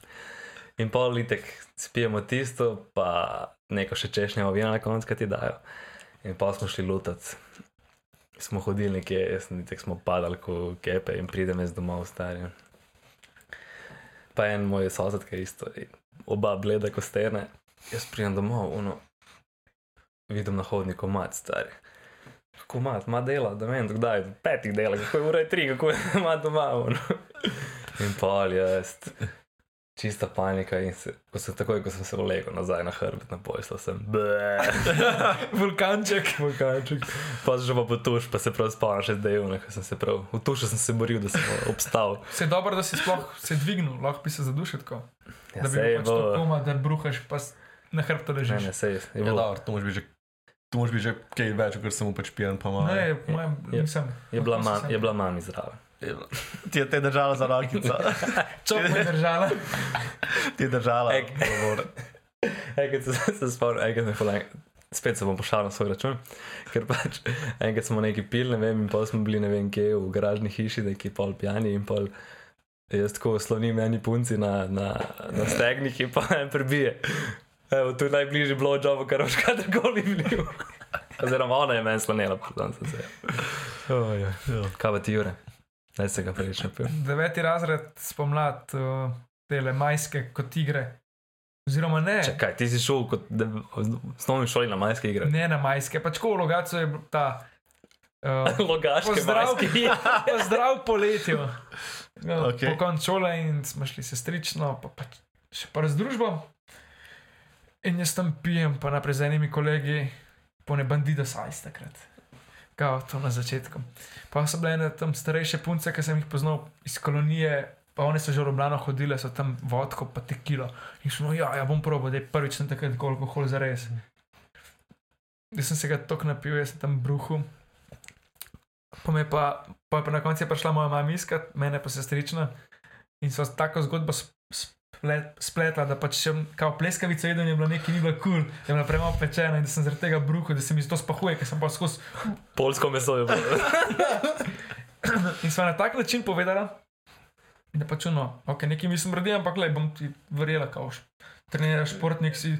D: In pol litek spijemo tisto, pa neko še češnjevo vino na koncu, ki ti dajo. In pa smo šli lutati. Smo hodili nekje, jaz in tek smo padali ko kepe in pridem jaz domov starjen pa en moj sosed, ki je isto, in oba bleda kot stene. Jaz pridem domov, uno, vidim na hodniku mat, stari. Kako ima, ima dela, da meni kdaj je, petih dela, kako je ura tri, kako je ima doma. Uno. In pol jaz, čista panika in se, ko sem takoj, ko sem se ulegel nazaj na hrbet, na posla sem, bleh.
C: Vulkanček.
D: Vulkanček. Pa že pa potuš, pa se prav spomnim še zdaj, uno, ko sem se prav, v tušu sem se boril, da sem obstal.
C: Se je dobro, da si sploh se dvignil, lahko bi se zadušil tako.
D: Ja,
C: Da bi
D: saj
C: bil pač
D: bo-
C: to koma, da bruhaš, pa s- na hrbtu
D: Ne,
C: ležiš.
D: ne, sej, je
B: Ja,
D: bilo.
B: dobro, to moraš biti že, to moraš biti že kaj več, ker sem pač pijan, pa malo.
C: Ne, po mojem,
D: je-
C: nisem.
D: Je bila,
C: Lahko si
D: mam,
C: sam.
D: je bila mami zraven.
B: Ti je te držala za rokico,
C: Čop me je držala.
B: ti je držala.
D: Ek.
B: govor.
D: Enkrat se, se spomnim, enkrat me poleg. Spet se bom pošalil na svoj račun, ker pač enkrat smo neki pil, ne vem, in pa smo bili ne vem kje v garažni hiši, neki pol pijani in pol. Jaz tako slonim eni punci na, na, na stegnih in pa en prebije. Evo, tu je najbližji blowjob, kar boš kadarkoli bil. Oziroma, ona je meni slonila, pardon, sem se. Oh, ja. Kaj pa ti, Jure? Naj se ga preveč napil.
C: Deveti razred spomlad, uh, tele majske kot igre. Oziroma ne.
D: Čakaj, ti si šel kot da- v osnovni šoli na majske igre.
C: Ne na majske, pač ko v Logacu je bil ta. Uh,
D: Logaške
C: Pozdrav.
D: majske igre.
C: zdrav poletje. No,
B: Okej.
C: okay. Po koncu šole in smo šli sestrično, pa, pa še pa z družbo. In jaz tam pijem, pa naprej z enimi kolegi, po ne bandida sajs takrat. Kao to na začetku. Pa so bile ene tam starejše punce, ki sem jih poznal iz kolonije, pa one so že v Ljubljano hodile, so tam vodko, pa tekilo. In šlo, ja, ja bom probo, da je prvič sem takrat tako alkohol za res. Jaz sem se ga tako napil, jaz sem tam bruhu. Pa me pa, pa, je pa na koncu je prišla moja mama iskat, mene pa sestrična. In so tako zgodbo sp- splet, spletla, da pač sem kao pleskavica jedel, in je bila nekaj, ni bila kul, cool, da je bila premalo pečena in da sem zaradi tega bruhu, da se mi to spahuje, ker sem pa skozi.
D: Polsko meso je bilo.
C: In sva na tak način povedala, da pač no, ok, nekaj mislim naredila, ampak le bom ti verjela, kao š- treniraš športnik si.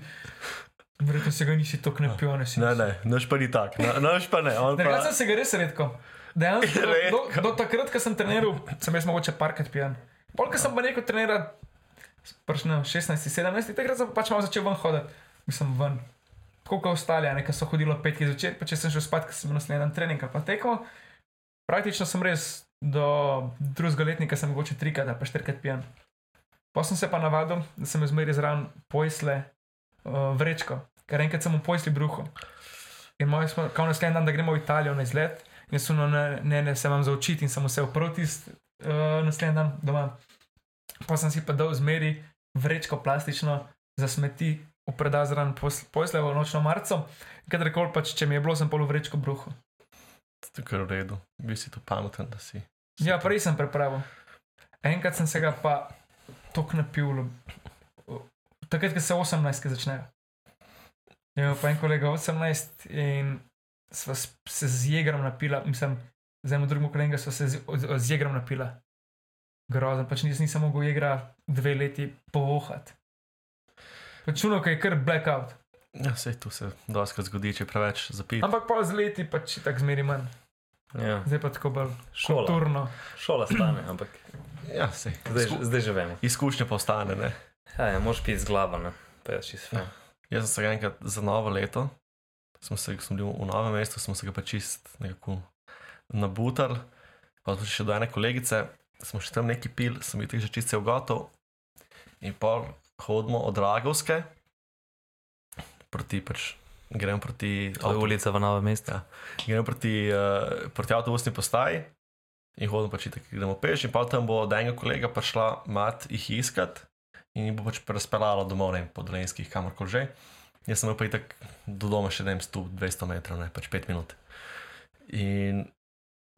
C: Verjetno se ga nisi tako napil, ne si.
B: Ah. Ne, ne, naš pa ni tak, Na- naš pa ne. on
C: Drugače
B: Pa,
C: sem se ga res redko. Dejansko, do,
B: Redko.
C: No, do takrat, ko sem treniral, sem jaz mogoče parkrat pijan. Polk sem pa rekel pač treniral, pršno 16, 17, takrat sem pa pač malo začel ven hoditi, mislim ven. Tako kot ostali, a ne, ki so hodili ob 5 zvečer, pa če sem šel spat, ker sem bil naslednji dan trening ali pa tekmo. Praktično sem res do drugega letnika, sem mogoče trikrat ali pa štirikrat pijan. Pa sem se pa navadil, da sem zmeraj zraven pojsle uh, vrečko, ker enkrat sem v pojsli bruhu. In moj smo, kao naslednji dan, da gremo v Italijo na izlet, in jaz suno, ne, ne, ne, se imam za učiti in sem vse uprl tisti uh, naslednji dan doma. Pa sem si pa dal zmeri vrečko plastično za smeti, upredal zraven posle v nočno marco, kadarkoli pač, če mi je bilo, sem pol v vrečko bruhu.
B: to je kar v redu, bil si tu pameten, da si.
C: Ja, prej sem prepravil. Enkrat sem se ga pa tok napil, v- takrat, ko se 18 začnejo. Je imel pa en kolega 18 in sva s- se z jegrom napila, mislim, z enim drugim kolegom sva se z, o- z jegrom napila. Grozen, pač nis, nisem mogel igra dve leti povohati. Računal, kaj je kar blackout.
B: Ja, sej to se doskrat zgodi, če preveč zapiješ.
C: Ampak pa z leti pač tako zmeri manj,
D: Ja.
C: zdaj pa tako bolj
D: Šola.
C: kulturno.
D: Šola stane, ampak
B: Ja, sej.
D: zdaj, že- zdaj že vemo.
B: Izkušnja pa ostane, ne.
D: Ja, ja, moraš piti z glavo, ne? Pa je čisto. fajn.
B: Jaz sem se ga enkrat za novo leto, smo se, smo bili v novem mestu, smo se ga pa čist nekako nabutar, pa smo še do ene kolegice, smo še tam neki pil, sem bil tako že čist cel gotov. In pol hodimo od Ragovske proti pač. Grem proti,
D: To je ulica v novem mestu.
B: Ja. grem proti, uh, proti avtobusni postaji in hodim pač tako, gremo peš. In pa tam bo od enega kolega prišla mat jih iskat in jih bo pač razpeljala domov, ne vem, po dolenskih, kamorkoli že. Jaz sem imel pa tako do doma še ne vem, 100, 200 metrov, ne pač 5 minut. In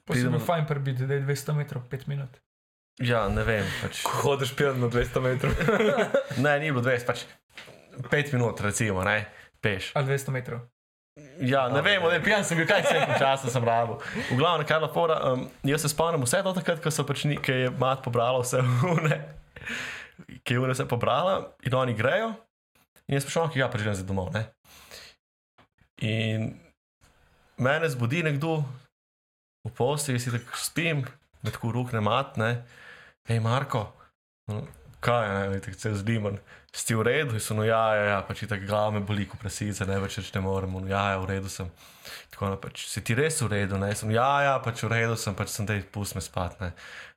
C: Potem
B: Pridemo-
C: je fajn prebiti, da je 200 metrov, 5 minut.
B: ja, ne vem, pač.
D: Ko hodiš pijan na 200 metrov.
B: Ne, ni bilo 20, pač 5 minut, recimo, ne, peš.
C: Ali 200 metrov.
B: Ja, ne vem, ne, pijan sem bil, kaj se je časa sem rabo. V glavnem, kar napora, um, jaz se spomnim vse do takrat, ko so pač ni, ki je mat pobrala vse une, ki je une vse pobrala in oni grejo. In jaz sprašujem, ki ga pač grem zdaj domov, ne. In mene zbudi nekdo v posli, jaz si tako spim, me tako rok ne mat, ne. Hej, Marko, no, kaj je, ne, tako se zdiman si v redu, in so no, ja, ja, ja pač tako glava me boli, ko presice, ne več več ne morem, no, ja, ja, v redu sem. Tako no, pač si ti res v redu, ne, sem, ja, ja, pač v redu sem, pač sem te pusti me spat, ne.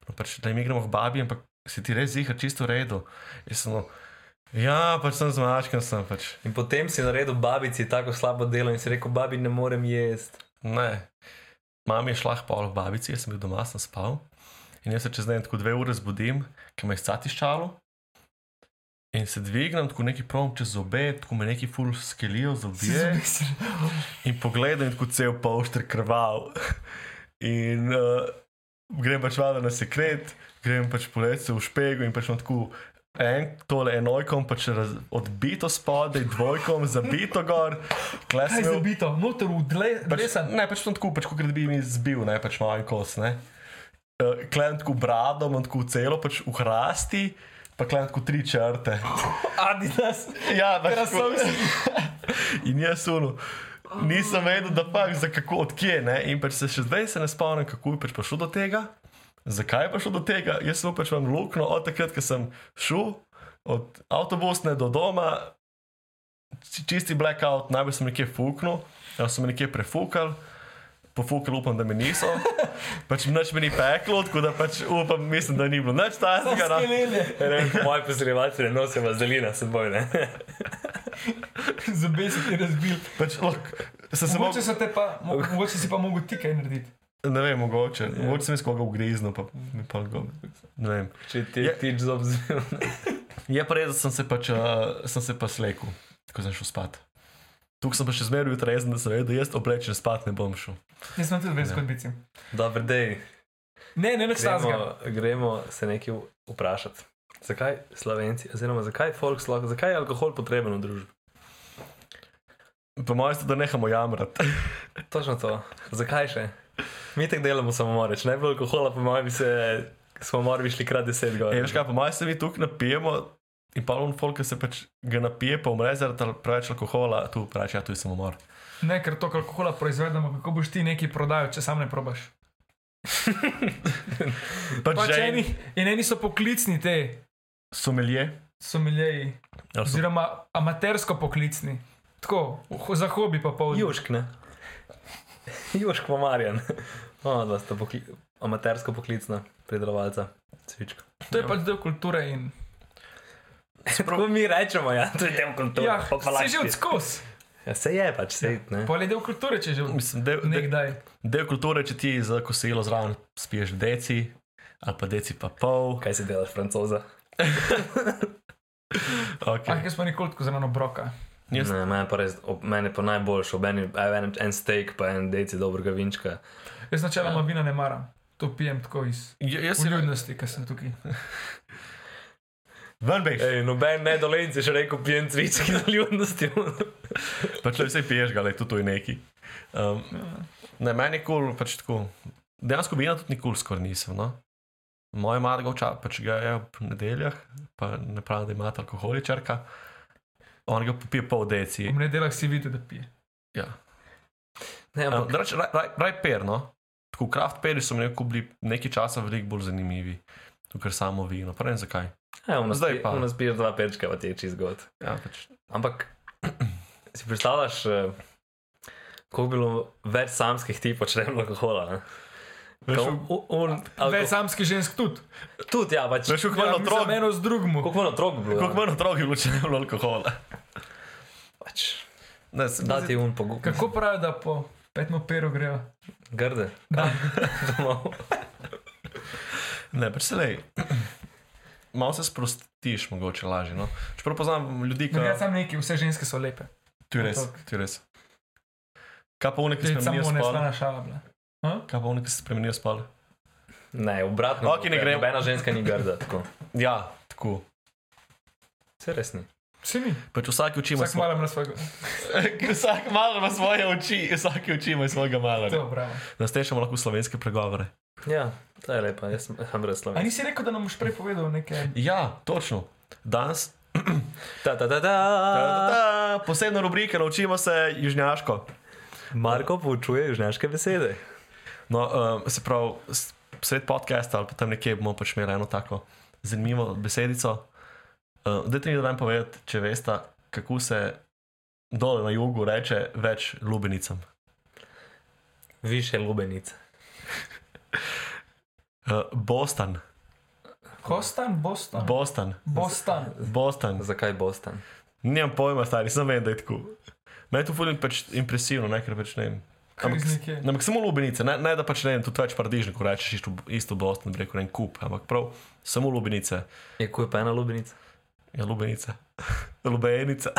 B: No, pač da jim igramo k babi, ampak si ti res zihar čisto v redu. Jaz sem, no, ja, pač sem zmačkan, sem pač,
D: In potem si naredil babici tako slabo delo in si rekel, babi ne morem jesti.
B: ne. Mami je šla pa v babici, jaz sem bil doma, sem spal. In jaz se čez dan tako dve ure zbudim, ki me je statiščalo. In se dvignem, tako neki prom čez zobe, tako me neki ful skelijo zobje. In pogledam, in tako cel pošter krval. In uh, grem pač vada na sekret, grem pač poletje v špegu in pač imam tako. En, tole enojkom, pač raz, odbito spodaj, dvojkom, zabito gor,
C: Kaj je
B: klesno.
C: zabito, motor v
B: Pač,
C: dlesen.
B: ne, pač sem tako, pač kot da bi mi zbil, ne pač malo kos. Ne. Uh, klem tako brado, imam tako celo, pač v hrasti, pa klem tako tri črte.
C: Adidas.
B: Ja, pač tako.
C: Krasovci.
B: In jaz sunu. Nisem vedel, da pač za kako, odkje ne. In pač se še zdaj se ne spomnim, kako je pač prišlo do tega, zakaj je prišlo do tega. Jaz sem pač imel luknjo od takrat, ko sem šel od avtobusne do doma, či- čisti blackout, najbolj sem nekje fuknil, ali so me nekje prefukali. Pofukal upam, da me niso, pač noč mi ni peklo, tako da pač upam, mislim, da ni bilo nič tajnega. no.
D: Ja, Moji posiljevalci ne nosijo vazelina s seboj, ne?
C: Zobe si ti razbil.
B: Pač, lahko- sem se
C: Mogoče,
B: mogel-
C: so te pa, mo- mogoče si pa mogel ti kaj narediti.
B: Ne vem, mogoče. Yeah. Mogoče sem jaz koga ugriznil, pa mi pa odgovor. Ne vem.
D: Če ti
B: Je-
D: je tič zob zbil.
B: Je pa res, da sem se pač, uh, sem se pa slekel, ko sem šel spat. Tukaj sem pa še zmeraj jutri rezen, da sem vedel, da jaz oblečen spat ne bom šel.
C: Jaz sem tudi brez
B: Ja.
C: kodbici.
D: Dober dej.
C: Ne, ne, nič stazga.
D: Gremo, gremo se nekaj v- vprašati. Zakaj Slovenci, oziroma zakaj, folk sploh- zakaj je alkohol potreben v družbi?
B: Po mojem, da nehamo jamrati.
D: Točno to. Zakaj še? Mi tako delamo samomore, če ne bi bilo alkohola, po mojem bi se samomor bi šli krat deset gor.
B: E, veš kaj, po mojem se mi tukaj napijemo in pa on folk se pač ga napije, pa umre zaradi al- preveč alkohola, tu preveč, ja, tu je samomor.
C: Ne, ker to alkohola proizvedemo, kako boš ti nekaj prodajal, če sam ne probaš.
B: Pač,
C: Pač
B: pač
C: eni,
B: ženi
C: in eni so poklicni te,
B: so melje.
C: so miljeji, oziroma amatersko poklicni. Tako, ho- za hobi pa pol.
D: Južk, ne? Južk pa Marjan. O, dva sta pokli amatersko poklicna pridelovalca. Cvička.
C: To je pač del kulture in.
D: Tako mi rečemo, ja, to je del kulture.
C: Ja,
D: pa pa
C: si že
D: lažje.
C: odskos.
D: Ja, se je pač, se ne.
C: Pol je del kulture, če že od-
B: Mislim, del, del,
C: nekdaj.
B: del kulture, če ti za kosilo zraven spiješ deci, ali pa deci pa pol.
D: Kaj si delaš, francoza?
B: Okay.
C: Ah, jaz pa nikoli tako zraven obroka.
B: Jaz-
D: Ne, meni pa res, ob, meni pa najboljši, ob eni, a enem, en steak, pa en deci dobrega vinčka.
C: Jaz načeloma vina ne maram. To pijem tako iz
B: Ja, Jaz sem
C: uljudnosti, ker sem tukaj.
B: ven bej.
D: Ej, noben ne dolenci še rekel, pijem cvički za ljudnosti.
B: Pa če vse piješ, ga, tudi to je neki. Um, ne, meni je kul, pač tako. Dejansko vina tudi nikul skoraj nisem. No? Moja mama ga oča, pač ga je ob nedeljah, pa ne pravi, da ima alkoholičarka. On ga popije pol deci.
C: V nedeljah si videl, da pije.
B: Ja.
D: Ne,
B: Um,
D: ampak
B: Reč, raj, raj, raj per, no. Tako kraft peri so mi nekako bili nekaj časa veliko bolj zanimivi. To, Ker samo vino, pa ne vem zakaj.
D: ja, v nas
B: zdaj
D: pi-
B: pa.
D: v nas piješ dva pečka, pa ti je čist god.
B: Ja, pač.
D: Ampak si predstavljaš, eh, koliko je bilo več samskih tipov, če ne bi bilo alkohola. ne?
B: Veš,
D: Ko- u- un- alko-
C: Več samskih žensk tudi.
D: Tudi, ja, pač.
B: Veš, kako
C: Ja,
B: malo
C: mislim,
B: otrok,
C: eno z drugim.
D: Koliko manj otrok je bilo? ja.
B: koliko manj otrok je bilo, če ne bi bilo alkohola.
D: Pač.
B: Ne, s-
D: Da ti je un pogum.
C: Kako pravijo, da po petmo peru grejo?
D: Grde.
C: Da.
D: Domov.
B: Ne, pač se lej. Malo se sprostiš, mogoče lažje. No? Čeprav poznam ljudi, ki
C: Ne, No, jaz sem neki, vse ženske so lepe.
B: Tu je res,
C: Ampak-
B: tu je res. Kaj pa unik, ki
C: Že
B: se spremenijo
C: samo ne
B: spal?
C: slana šala bila.
B: Kaj pa unik, ki se spremenijo spal?
D: Ne, obratno.
B: Ok, ne gremo.
D: Nobena ženska ni grda, tako.
B: Ja, tako.
D: Se res ni.
C: Vsi mi,
B: Pač vsak oči ima
C: vsak malo ima svojega.
B: vsak malo ima svoje oči, vsak oči ima svojega malarja.
C: To, bravo.
B: Nastešamo lahko slovenske pregovore.
D: Ja, to je lepa, jaz sem- sem
C: A
D: brez slovenca.
C: nisi rekel, da nam boš prej povedal nekaj?
B: Ja, točno. Danes,
D: Ta, ta,
B: ta, ta,
D: ta, ta.
B: ta, posebna rubrika, naučimo se južnjaško.
D: Marko poučuje južnjaške besede.
B: No, um, se pravi, s- sred podcasta ali pa tam nekje bomo pač imeli eno tako zanimivo besedico. Uh, Dajte mi, da vam povedati, če veste, kako se dole na jugu reče več lubenicam.
D: Više lubenice.
B: Uh, Bostan,
C: Hostan, Boston.
B: Bostan,
C: Boston.
B: Bostan.
D: Zakaj Boston?
B: Nimam pojma, stari, sem vem, da je tako. Meni je to fulin pač impresivno, ne, ker pač ne vem. Ampak, No, s-
C: Kriznik je.
B: ampak samo lubenice, ne, ne da pač ne vem, tudi več paradižnikov rečeš isto, isto Boston, bi rekel ne en kup, ampak prav samo lubenice.
D: Je kuj pa ena lubenica?
B: Ja, lubenica. Lubenica.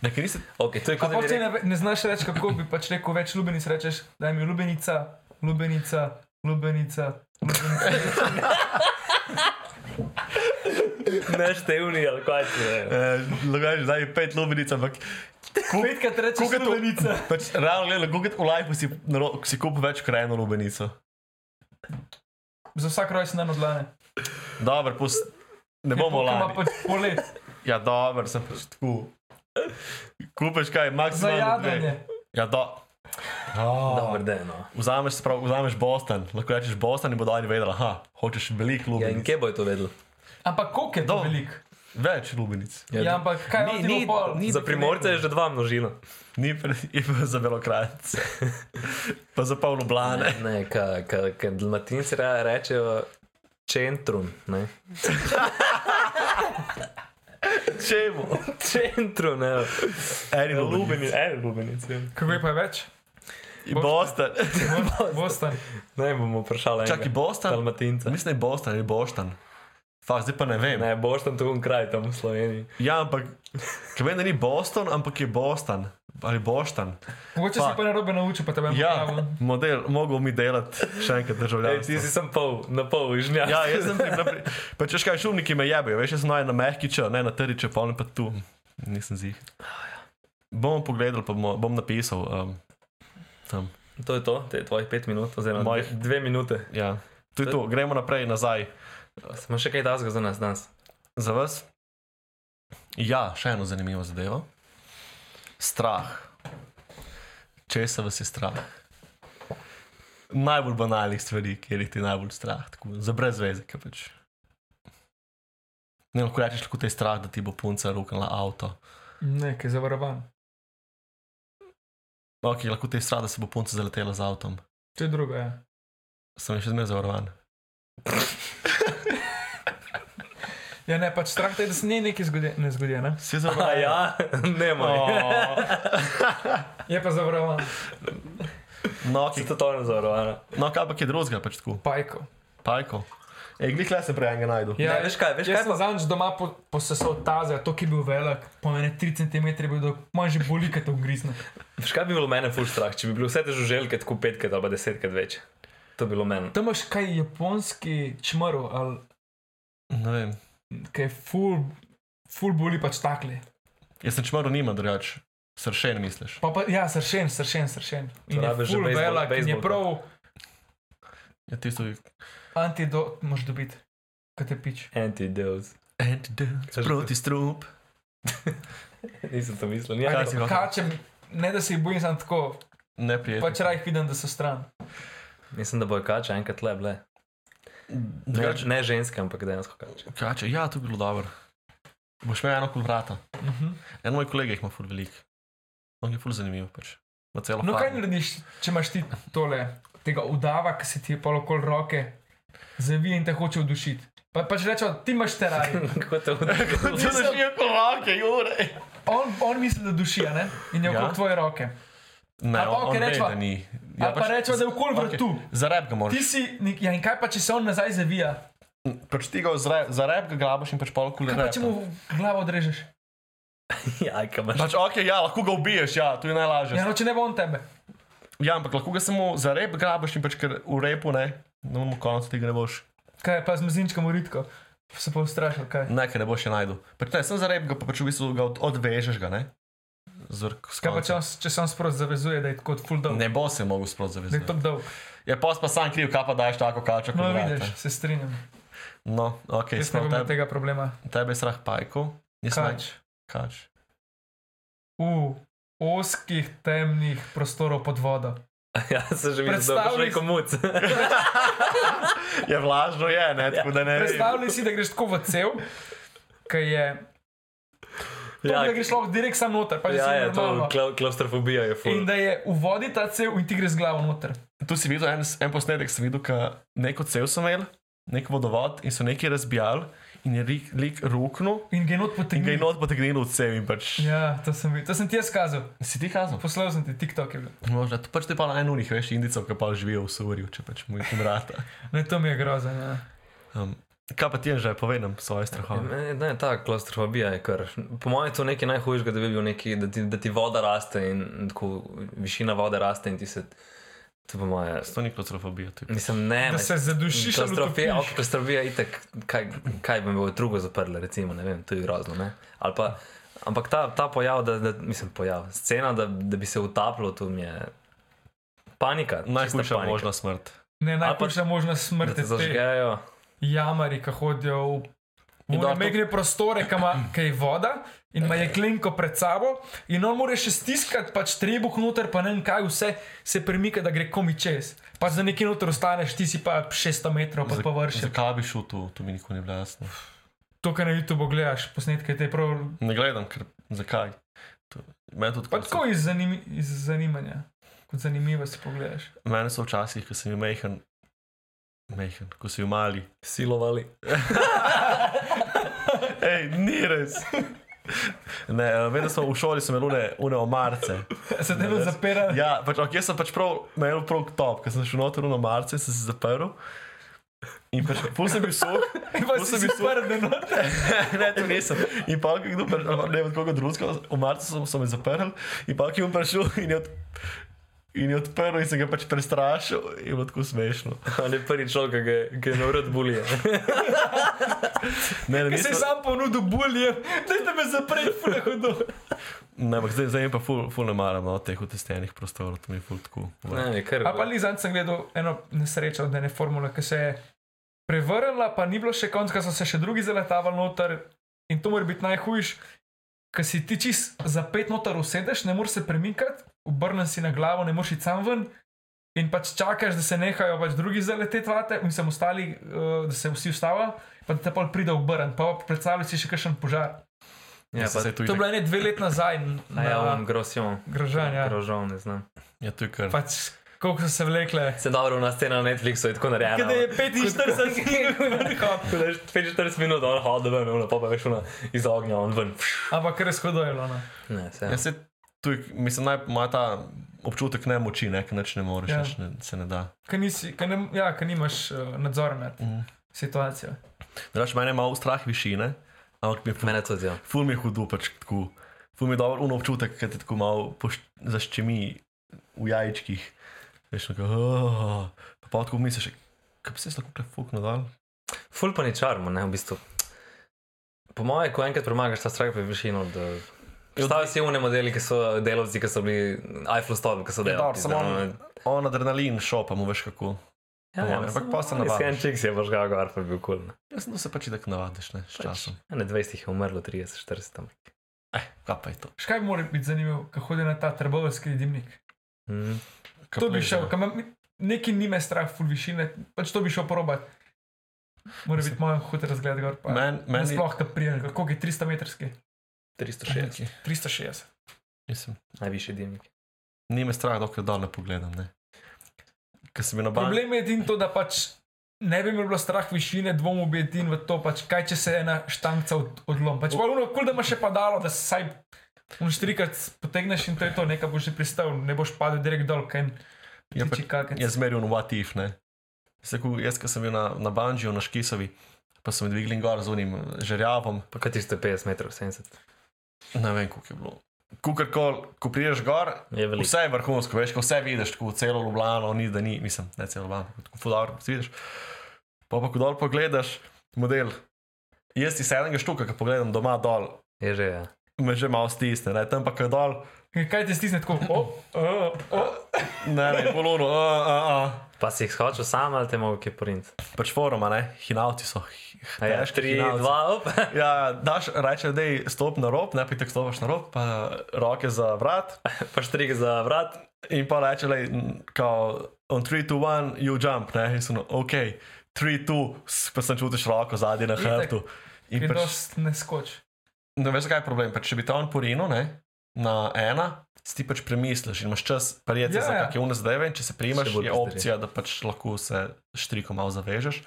B: Nekaj niste
D: ok, to je
C: A
D: kot da
C: pa
D: bi
C: ti
D: rekel.
C: ne, ve- ne znaš reči, kako bi pač rekel več lubenic, rečeš, da mi lubenica, lubenica, lubenica. lubenica.
D: Neštevni ali kaj ti
B: Ja.
D: je.
B: Logaš, da je pet lubenic, ampak
C: Petkrat rečeš
B: koliko je to?
C: lubenica.
B: pač, realno gledano, koliko v lajfu si, naro- si kupil več kot eno lubenico.
C: Za vsak rojsten dan odlane.
B: Dobro, pust, ne bomo
C: Ima
B: lajali.
C: pač polet,
B: Ja, dobro, sem pač tako. Kupeš kaj,
C: za
B: maksimalno dve.
C: jadranje.
B: Ja, do.
D: Dober dan. No.
B: Vzameš, se pravi, vzameš Boston, lahko rečeš Boston in bodo oni vedeli, aha, hočeš veliko
D: Ja, in
B: lubenic.
D: kje bo je to vedel?
C: Ampak koliko je to
B: Do.
C: velik?
B: Več lubenic.
C: Ja, ampak kaj
D: ni,
C: je
D: ni,
C: to?
D: ni, za primorce je že dva množina.
B: Ni pre, je pa za belokrajce. pa za polno blane.
D: Ne, ka, ka, ka dalmatinci ra- rečejo centrum. Ne?
B: Čemu?
D: Centrum, ne.
B: Eni lubenic.
D: Lubenic, en lubenic. ja.
C: Kako je pa več?
B: Boston.
C: Boston.
D: Ne bomo vprašali.
B: Čakaj, Boston?
D: Dalmatinca.
B: Mislim, da je Boston ali Boštan. Fak, zdaj pa ne vem. Ne.
D: Ne, boš tam tako kraj, tam v Sloveniji.
B: Ja, ampak, ki vem, da ni Boston, ampak je Boston. Ali Boštan.
C: Mogoče si
B: Fuck.
C: pa na robe naučil, pa te bom
B: Ja, model, mogo mi delati še enkrat
D: Ej,
B: državljanstvo.
D: ti si sem pol, na pol, žnja.
B: Ja, jaz sem pri naprej. Pa češ kaj, šumniki me jebijo, veš, jaz sem naj na mehkiča, ne na trdiče, polne pa tu. Nisem zih. Bomo pogledali, pa bomo, bom napisal. Um, tam.
D: To je to, te tvojih pet minut, oziroma Moj...
B: Moj-
D: dve minute.
B: Ja. To je to, gremo naprej, nazaj.
D: Smo še kaj tasga za nas danes.
B: Za vas? Ja, še eno zanimivo zadevo. Strah. Česa vas je strah? Najbolj banalnih stvari, kjer jih ti je najbolj strah, tako za brez veze, ki pač. Ne lahko rečeš, kako te je strah, da ti bo punca rokala avto.
C: Nekaj zavarovan.
B: Ok, lahko te je strah, da se bo punca zaletela z avtom.
C: To je drugo, ja.
B: Sem še zmeraj zavarovan.
C: Ja, ne, pač strah te je, da se ni nekaj zgodi, ne zgodi, ne?
B: Si
D: A
B: zavarovan?
D: ja, ne moj.
C: Je pa zavarovan.
B: No, okay.
D: Si to totalno zavarovana.
B: no, kaj pa je drugega, pač tako.
C: Pajko.
B: Pajko. Ej, glih le se prej enega najdu.
D: Ja,
C: Ja,
D: ne, veš kaj, veš
C: Jaz
D: kaj
C: sem
D: pa
C: zadnjič doma po, posesal tazer, to ki je bil velik, po meni 3 cm je bil, manj že boli, kot ugrizne.
D: Veš kaj bi bilo mene ful strah, če bi bilo vse te žuželke tako petkrat ali pa desetkrat več. To bi bilo meni.
C: Tam imaš kaj japonski čmrl, ali
B: Ne vem.
C: kaj ful, ful boli pač takle.
B: Jaz sem čmrl, nima drugače. Sršen misliš.
C: Pa pa, ja, sršen, sršen, sršen. In je
D: Rabiš že
C: ful
D: bejzbol-
C: velik, in je
D: bejzbolko.
C: prav
B: Ja, tisto je
C: antidot, moš dobiti, kot je pič.
D: Antideus.
B: antidote proti strup.
D: Nisem to mislil. Ja,
B: Kaj si hotel?
C: Kačem, ne da se jih bojim, sem tako,
B: Neprijetno.
C: pač rajh vidim, da so stran.
D: Mislim, da bo kača enkrat le, le. Ne,
B: Drugače-
D: ne ženske, ampak dejansko kača.
B: Kače, ja, to bi bilo dobro. Boš imel eno kul vrata.
C: Uh -huh.
B: En moj kolega jih ima ful velik. On je ful zanimiv pač. Na celo
C: No, kaj
B: farmo.
C: narediš, če imaš ti tole, tega udava, ki se ti je pa okoli roke, zavije in te hoče udušiti. Pa Pa pač rečejo, ti imaš teraj.
D: Kako te vdrlo?
B: Če se mi je kolake, jure.
C: On, on misli, da duši, a ne? In je okrog
B: Ja.
C: tvoje roke.
B: Ne,
C: Ali pa,
B: on, on
C: okej,
B: ve,
C: rečeva-
B: da ni. Ja, pač-
C: ali pa rečeva, da je okoli vratu.
B: Zareb ga
C: Ti
B: moraš.
C: si, nek- ja in kaj pa, če se on nazaj zavija?
B: Pač ti ga zareb, zareb ga grabiš in pač pol kule
C: Kaj pa, če
B: repa.
C: mu glavo odrežeš?
D: Ja, kaj imaš?
B: Pač ok, ja, lahko ga ubiješ, ja, to je najlažje.
C: Ja, no, če ne bo on tebe.
B: Ja, ampak lahko ga samo zareb grabiš in pač ker v repu ne, na no, koncu tega ne boš.
C: Kaj pa z mezinčkom uritko? Se pa ustrašil, kaj?
B: Ne, ker ne boš še najdel. Pač ne, sem zareb ga, pa pač v bistvu ga od, odvežeš ga, ne. Zrk, s
C: Kaj pa, če,
B: koncem.
C: on, s- če se on sprot zavezuje, da je kot full dolg?
B: Ne bo se mogel sprot
C: Da je
B: zavezati.
C: to dolg.
B: Je pos pa sam kriv, kaj pa daješ tako kačo.
C: No,
B: kot vrata.
C: vidiš, se strinjam.
B: No, ok,
C: Jaz ne
B: smo
C: bom imel
B: tebe,
C: tega problema.
B: tebe je strah pajkov. Nisem
C: Kač.
B: kač.
C: V oskih, temnih prostorov pod vodo.
D: Ja, se že vidiš, da boš
C: Predstavljaj-
D: rekel muc.
B: Je vlažno, je, ne, tako da
C: Ja,
B: ne vem.
C: Predstavljaj si, da greš tako v cel, ki je. To,
D: Ja,
C: ja, da greš lahko direkt sam noter, pa že
D: Ja,
C: ja,
D: ja,
C: je
D: to
C: to.
D: klau- klaustrofobija je ful.
C: In da je v vodi ta cel in ti greš z glavo noter.
B: Tu si videl en, en posnetek, sem videl, ka neko cel sem imel, nek vodovod in so neki razbijali in je lik, lik ruknil
C: In ga je not
B: in ga je
C: potegnil.
B: not potegnil v cev in pač.
C: Ja, to sem, bil- to sem ti jaz kazal.
B: Si ti kazal?
C: Poslal sem ti TikTok. Je bil.
B: Možda, to pač te pa na enunih, veš, indicov, ki pa živijo v Suvarju, če pač mu jih vrata.
C: ne, to mi je grozen. Ja.
B: Um, kaj pa ti je že, povej nam svoje
D: Ja,
B: strahove.
D: meni- Ne, ta klaustrofobija je kar. Po mojem, to je nekaj najhujšega, da bi bil neki, da ti, da ti voda raste in tako višina vode raste in ti se. To po mojem.
B: To ni klaustrofobija. to je-
D: Mislim, ne,
C: Da se zadušiš, ali
D: Klaustrofobija,
C: utopiš.
D: ok, klaustrofobija je itak, kaj, kaj bi me v drugo zaprlo, recimo, ne vem, to je grozno. Ne? Ali pa, ampak ta, ta pojav, da, da, mislim, pojav, scena, da, da bi se utapljal, to mi je panika. čista
B: Najhujša
D: panika.
B: možna smrt.
C: Ne,
D: pa-
B: pač
C: najboljša možna
D: Da
C: smrt
D: te
C: je te
D: zažgejo.
C: jamari, ki hodijo v
B: In dobro, to-
C: Megne prostore, ki je voda in ima jeklenko pred sabo, in on mora še stiskati, pač trebuh noter, pa ne vem kaj, vse se premika, da gre komi čez. Pač da nekje noter ostaneš, ti si pa 600 metrov pod
B: Za-
C: površjem.
B: Zakaj bi šel tu, tu mi nikoli ni bilo jasno.
C: To, kar na YouTubu gledaš, posnetke te je prav.
B: Ne gledam, ker zakaj. To- Mene tudi
C: Pa
B: kot-
C: tako iz, zanimi, iz zanimanja, kot zanimivo si pogledaš.
B: Mene so včasih, ko sem bil mehen, mehen, ko si bil mali.
D: Silovali.
B: Ej, ni res. Ne, vedno smo v šoli imeli une, une omarce.
C: Se te vedno zapira.
B: Ja, pač, ok, jaz sem pač prav, imel prav top, ker sem šel noter v omarce, sem se zaprl. In pač, pol sem bil suh,
C: In pa
B: pol
C: si no.
B: sem
C: si
B: bil suh.
C: prden,
B: ne, to nisem. In pa, ko je kdo, pri- ali pa ne vem, koga drugega, v marcu so, so me zaprli, in pa, ki je prišel in je, od, in je odprl, in sem ga pač prestrašil, in je bilo tako smešno.
D: On je prvi človek, ki je- ki je na vrt bulje.
B: Ne, ne,
C: ki se je
B: nisem,
C: sam ponudil bulje, da te me zapre, fule hudo.
B: ne ampak zdaj, zdaj mi pa ful, ful ne maram no, teh utestenih prostorov, to mi je ful tako.
D: Ne, je kar. Ja,
C: A pa Lizan sem gledal eno nesrečo od ene formule, ki se je prevrnila, pa ni bilo še konc, ko so se še drugi zaletavali noter in to mora biti najhujš, ker si ti čist za pet noter usedeš, ne moreš se premikati, obrnen si na glavo, ne moreš iti sam ven. In pač čakaš, da se nehajo pač drugi zaleteti vate, in sem ostali, eh, da se vsi ustavijo, pa da te pol pride obrn, pa predstavljaj si še kakšen požar.
D: Ja,
B: Mislim,
D: pa
B: saj to
C: To
B: je
C: je bilo ene dve let nazaj,
D: A ja, on
C: na
D: grosjon.
C: Grožan, ja.
D: Grožon, ne znam.
B: Ja, to je kar.
C: Pač, koliko so se vlekle.
B: Ja,
D: Se dobro, ona scena na Netflixu je tako narejena.
C: Kaj da je 45 minut,
D: Tako da je 45 minut, on hodi ven, ona pa pa veš ona iz ognja, on ven.
C: ampak res hodo je bilo. no.
D: Ne, se.
B: Ja, se, tu je, mislim, naj ima ta občutek nemoči, ne, ker nič ne moreš,
C: Ja.
B: ja. ne, se ne da.
C: Ker nisi, ker ne, ja, ker nimaš uh, nadzora nad
B: Mhm.
C: mm. situacijo.
B: Drugač, mene je malo strah višine, ampak mi je ful
D: Mene tudi, ja.
B: ful mi je hudo, pač tako. Ful mi je dobro un občutek, ki te tako malo pošt- zaščemi v jajčkih. Veš, tako, oh, pa, pa tako misliš, kaj bi se jaz lahko kaj fuknil dol?
D: Ful pa ni čarmo, ne, v bistvu. Po moje, ko enkrat premagaš ta strah pred višino, da... Predstavljaj si une modeli, ki so delavci, ki so bili Eiffel Stolp, ki so
B: Ja, dobro,
D: delavci.
B: samo on, on adrenalin šopa mu veš kako. on-
D: ja,
B: ampak pa se navadiš.
D: En čik si je baš ga gor, pa je bil kul. Cool, ne.
B: Jaz sem to se pač tako navadiš, ne, s časom.
D: Ene 20 jih je umrlo, 30, 40 tam.
B: Eh, kaj pa je to?
C: Škaj mora biti zanimivo, kako hodi na ta trboveljski dimnik.
D: Mm.
B: Kaj
C: To bi
B: plezanje?
C: šel, kam imam- neki nime strah, full višine, pač to bi šel probat. Mora biti moj hud razgled gor. Pa.
B: Men, meni,
C: Sploh te prijem, kako je 300 metrski,
D: 360.
C: 360.
B: mislim,
D: Najvišji dimnik.
B: ni me strah, dokler dol ne pogledam. Ne. Ker sem bil na banki.
C: Problem je edino to, da pač Ne bi me bilo strah višine, dvom objetin v to, pač kaj če se ena štanca od, odlom. Pač pa uno, kul da ima še padalo, da se saj un štrikrat potegneš in to je to, nekaj boš že pristal, ne boš padel direkt dol, kaj
B: Ja, pa-
C: tiči kakec.
B: Jaz zmerjam what if, ne. Se, ko, jaz, ko sem bil na, na Banžiju, na Škisovi, pa sem dvignil in gor z unim eh, žerjavom,
D: Pa kaj tiste 50 metrov, 70.
B: ne vem, koliko je bilo. Kukorkoli, ko prideš gor,
D: Je veliko.
B: vse je vrhunsko, veš, ko vse vidiš, tako celo Ljubljano, ni da ni, mislim, ne celo Ljubljano, tako fudar, vidiš. Pa pa ko dol pogledaš, model. Jaz iz enega štuka, ko pogledam doma dol,
D: Je že, ja.
B: me že malo stisne, ne? tam pa ko je dol,
C: Kaj te stisne tako? O, o, o.
B: ne, ne, polono, a, a, a.
D: Pa si jih skočil sam ali te mogo kje print.
B: Pač foruma, ne, hinavci so.
D: A Ja,
B: težki
D: 3,
B: hinavci.
D: 2, op.
B: Ja, daš, rečeš, da je stop na rob, ne pitek stopiš na rob, pa roke za vrat
D: Pa štrik za vrat.
B: in pa rečeš, da on 3, 2, 1, you jump, ne, in sem ok, 3, 2, pa sem čutiš roko zadnji na
C: Itak.
B: hrbtu. In
C: In
B: pač,
C: dost ne skoč.
B: ne veš, kaj je problem, pač, če bi ta on porino, ne, na ena, si ti pač premisliš in imaš čas prijeti
C: Ja,
B: yeah. za
C: ja.
B: kakšne unesdeve in če se
D: Še
B: primaš,
D: bolj
B: je
D: pizdari.
B: opcija, da pač lahko se štriko malo zavežeš,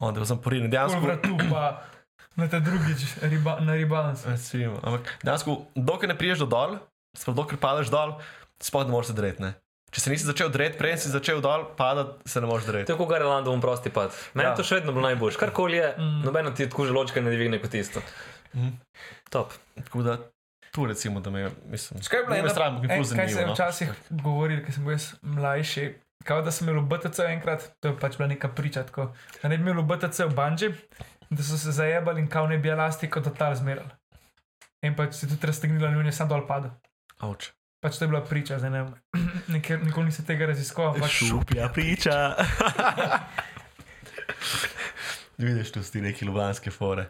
B: onda sem porinil dejansko.
C: Kul vratu pa na ta drugič riba, na ribalans.
B: Recimo, ampak dejansko, dokler ne priješ do dol, sploh dokler padeš dol, sploh ne moreš se dreti. Ne? Če se nisi začel dreti, prej si začel dol, padati se ne moreš dreti.
D: To je kot Garland, bom prosti pad. Meni
B: Ja.
D: ja. to še vedno bilo najboljše. Karkoli je,
C: Mm.
D: mm. nobeno ti tako želočka ne dvigne kot isto.
B: Mhm.
D: Top.
B: Tako da tu recimo, da me je, mislim,
C: Kaj je bila
B: ni me
C: ena-
B: sram, ki
C: Ej,
B: je
C: Kaj se je
B: zanimivo. no.
C: včasih govorilo, ker sem bil jaz mlajši. Kao da sem imel v BTC enkrat, to je pač bila neka priča, tako, da ne bi imel v BTC v Banji, da so se zajebali in kao ne bi elastiko do tal zmerali. In pač se je tudi raztegnila in on je sam dol padel.
B: Avč.
C: Pač to je bila priča, zdaj ne vem, Nikjer- nikoli nisem tega raziskoval. Pač,
B: Šupja priča. Vidiš, tu so ti neki ljubljanske fore.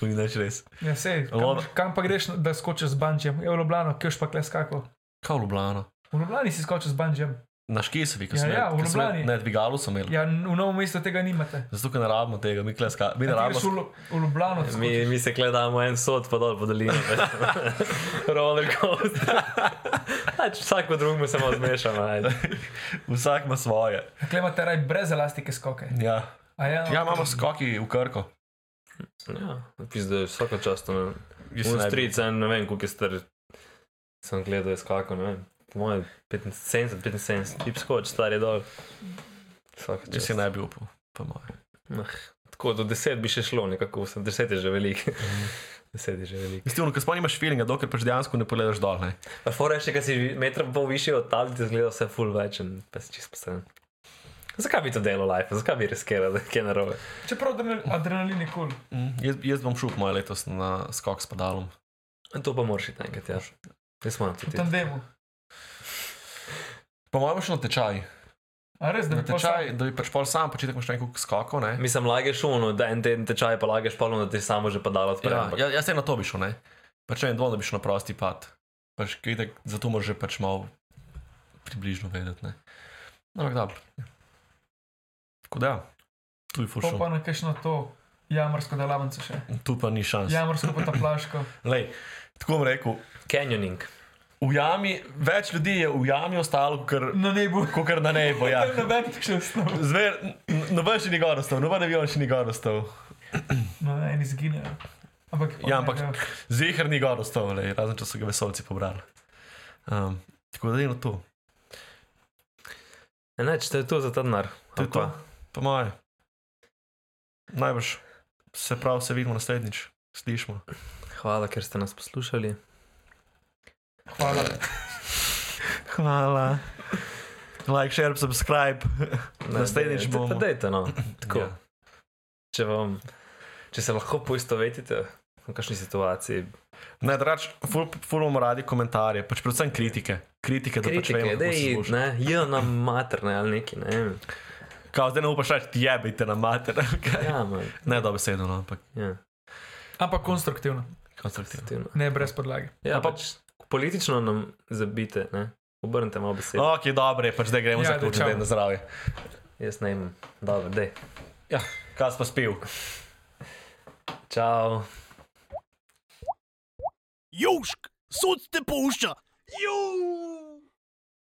B: To ni več res.
C: ja, sej, kam,
B: Lob-
C: kam pa greš, da skočiš z Banjem? Je v Ljubljano, kje boš pa kles kako?
B: Kao Ljubljano.
C: V Ljubljani si skočil z Banjem.
B: Na Škisovi, ki
C: Ja,
B: smo
C: ja, v Ljubljani.
B: Ne, dvigalu sem imel. Ja.
C: Ja, n- v novem mestu tega nimate.
B: Zato, ker ne rabimo tega, mi kleska. Mi ne
C: Ja, Ti
B: rabimo.
C: greš v, Lu- v Ljubljano.
D: Mi, mi se gledamo en sod, pa dol po dolini. Roller coaster. Pač vsako drugemu se malo zmešamo. ajde.
B: Vsak ima svoje.
C: Klej imate raj brez elastike skoke.
B: Ja.
C: A ja,
B: Ja, imamo skoki v Krko.
D: Ja, pizde, vsako čast. no. ne.
B: Jaz
D: Un
B: ne bi-
D: stric, en ne vem, koliko je star. Sem gledal, je skakal, ne vem. Po mojem, 75, 75, tip skoč, star je dol. Vsaka
B: Če
D: čast.
B: si ne bi upal, po mojem.
D: Tako do 10 bi še šlo, nekako 8, 10 je že veliko.
B: Mhm.
D: 10 je že veliko.
B: Mislim, ko sploh nimaš feelinga, dokler pač dejansko ne pogledaš dol. Ne?
D: Pa fora je še, ker si meter pol više od tal, ti zgleda vse full večen, pa si čist postavljen. Zakaj bi to delo life, zakaj bi riskirali, da je kaj narobe?
C: Čeprav adrenal- adrenalin je kul. Cool.
B: Mm, jaz, jaz bom šel moje letos na skok s padalom.
D: To pa moraš iti enkrat, ja. Jaz moram tudi.
C: V tandemu.
B: Po mojem šel na tečaj.
C: A res, da
B: Na
C: bi posal.
B: tečaj, da bi pač pol sam počitek imaš nekaj skokov. Ne?
D: Mislim, lageš uno, da en teden tečaj, pa lageš polno, da ti samo že padalo odpre.
B: Ja, ja, jaz se na to bi šel, ne. Pač ne en dvom, da bi šel na prosti pad. Pač, kaj itak, zato moraš že pač malo približno vedeti. Ne? No, ampak dobro. ja. Tako da, ja, tu je
C: To pa
B: fušil.
C: na kakšno to jamarsko delavnico še.
B: Tu pa ni šans. Ja.
C: Jamarsko potaplaško.
B: Lej, tako bom rekel,
D: Canyoning.
B: v jami, več ljudi je v jami ostalo, ker
C: Na nebu.
B: Ko kar na nebu, ja.
C: Tam noben še ostal.
B: Zmer, noben še ni gor ostal, noben avion še ni gor ostal.
C: No, ne, en izgine. Ampak,
B: Ja, ampak- Zihar ni gor ostal, le, razen če so ga vesolci pobrali. Um, tako da je to,
D: Ja, Ne, če to je to za ta denar.
B: To je
D: ali kva?
B: po moje. Najbrž se prav, se vidimo naslednjič, slišmo.
D: Hvala, ker ste nas poslušali.
C: Hvala.
B: Hvala. Like, share, subscribe.
D: Ne,
B: Naslednjič
D: dej-
B: bomo-
D: Pa dejte, no. Tako.
B: Ja.
D: Ja. Če, vam, če se lahko poistovetite v kakšni situaciji,
B: Ne, drač, ful, ful bomo radi komentarje, pač predvsem kritike. Kritike, da pač
D: kritike,
B: vemo,
D: da
B: da se
D: je
B: sluša.
D: ne, je nam materne ali neki, ne vem.
B: Kao, zdaj ne upaš reči, jebite na mater. Okay.
D: Ja, man,
B: Ne, dobesedno, no, ampak
D: ja,
C: Ampak konstruktivno,
B: konstruktivno.
D: aktivno.
C: ne brez podlage.
D: Ja,
B: pa-
D: pa, pač, politično nam zabite, ne. Obrnite malo besedo.
B: Ok, dobro, je, pač zdaj gremo ja,
C: Ja, daj,
B: zaključiti,
C: čau.
B: da je na zdravje.
D: Jaz ne imam. Dobro, dej.
B: Kaj si pa spil?
D: Čau.
A: Južk, sod te pušča. Južk.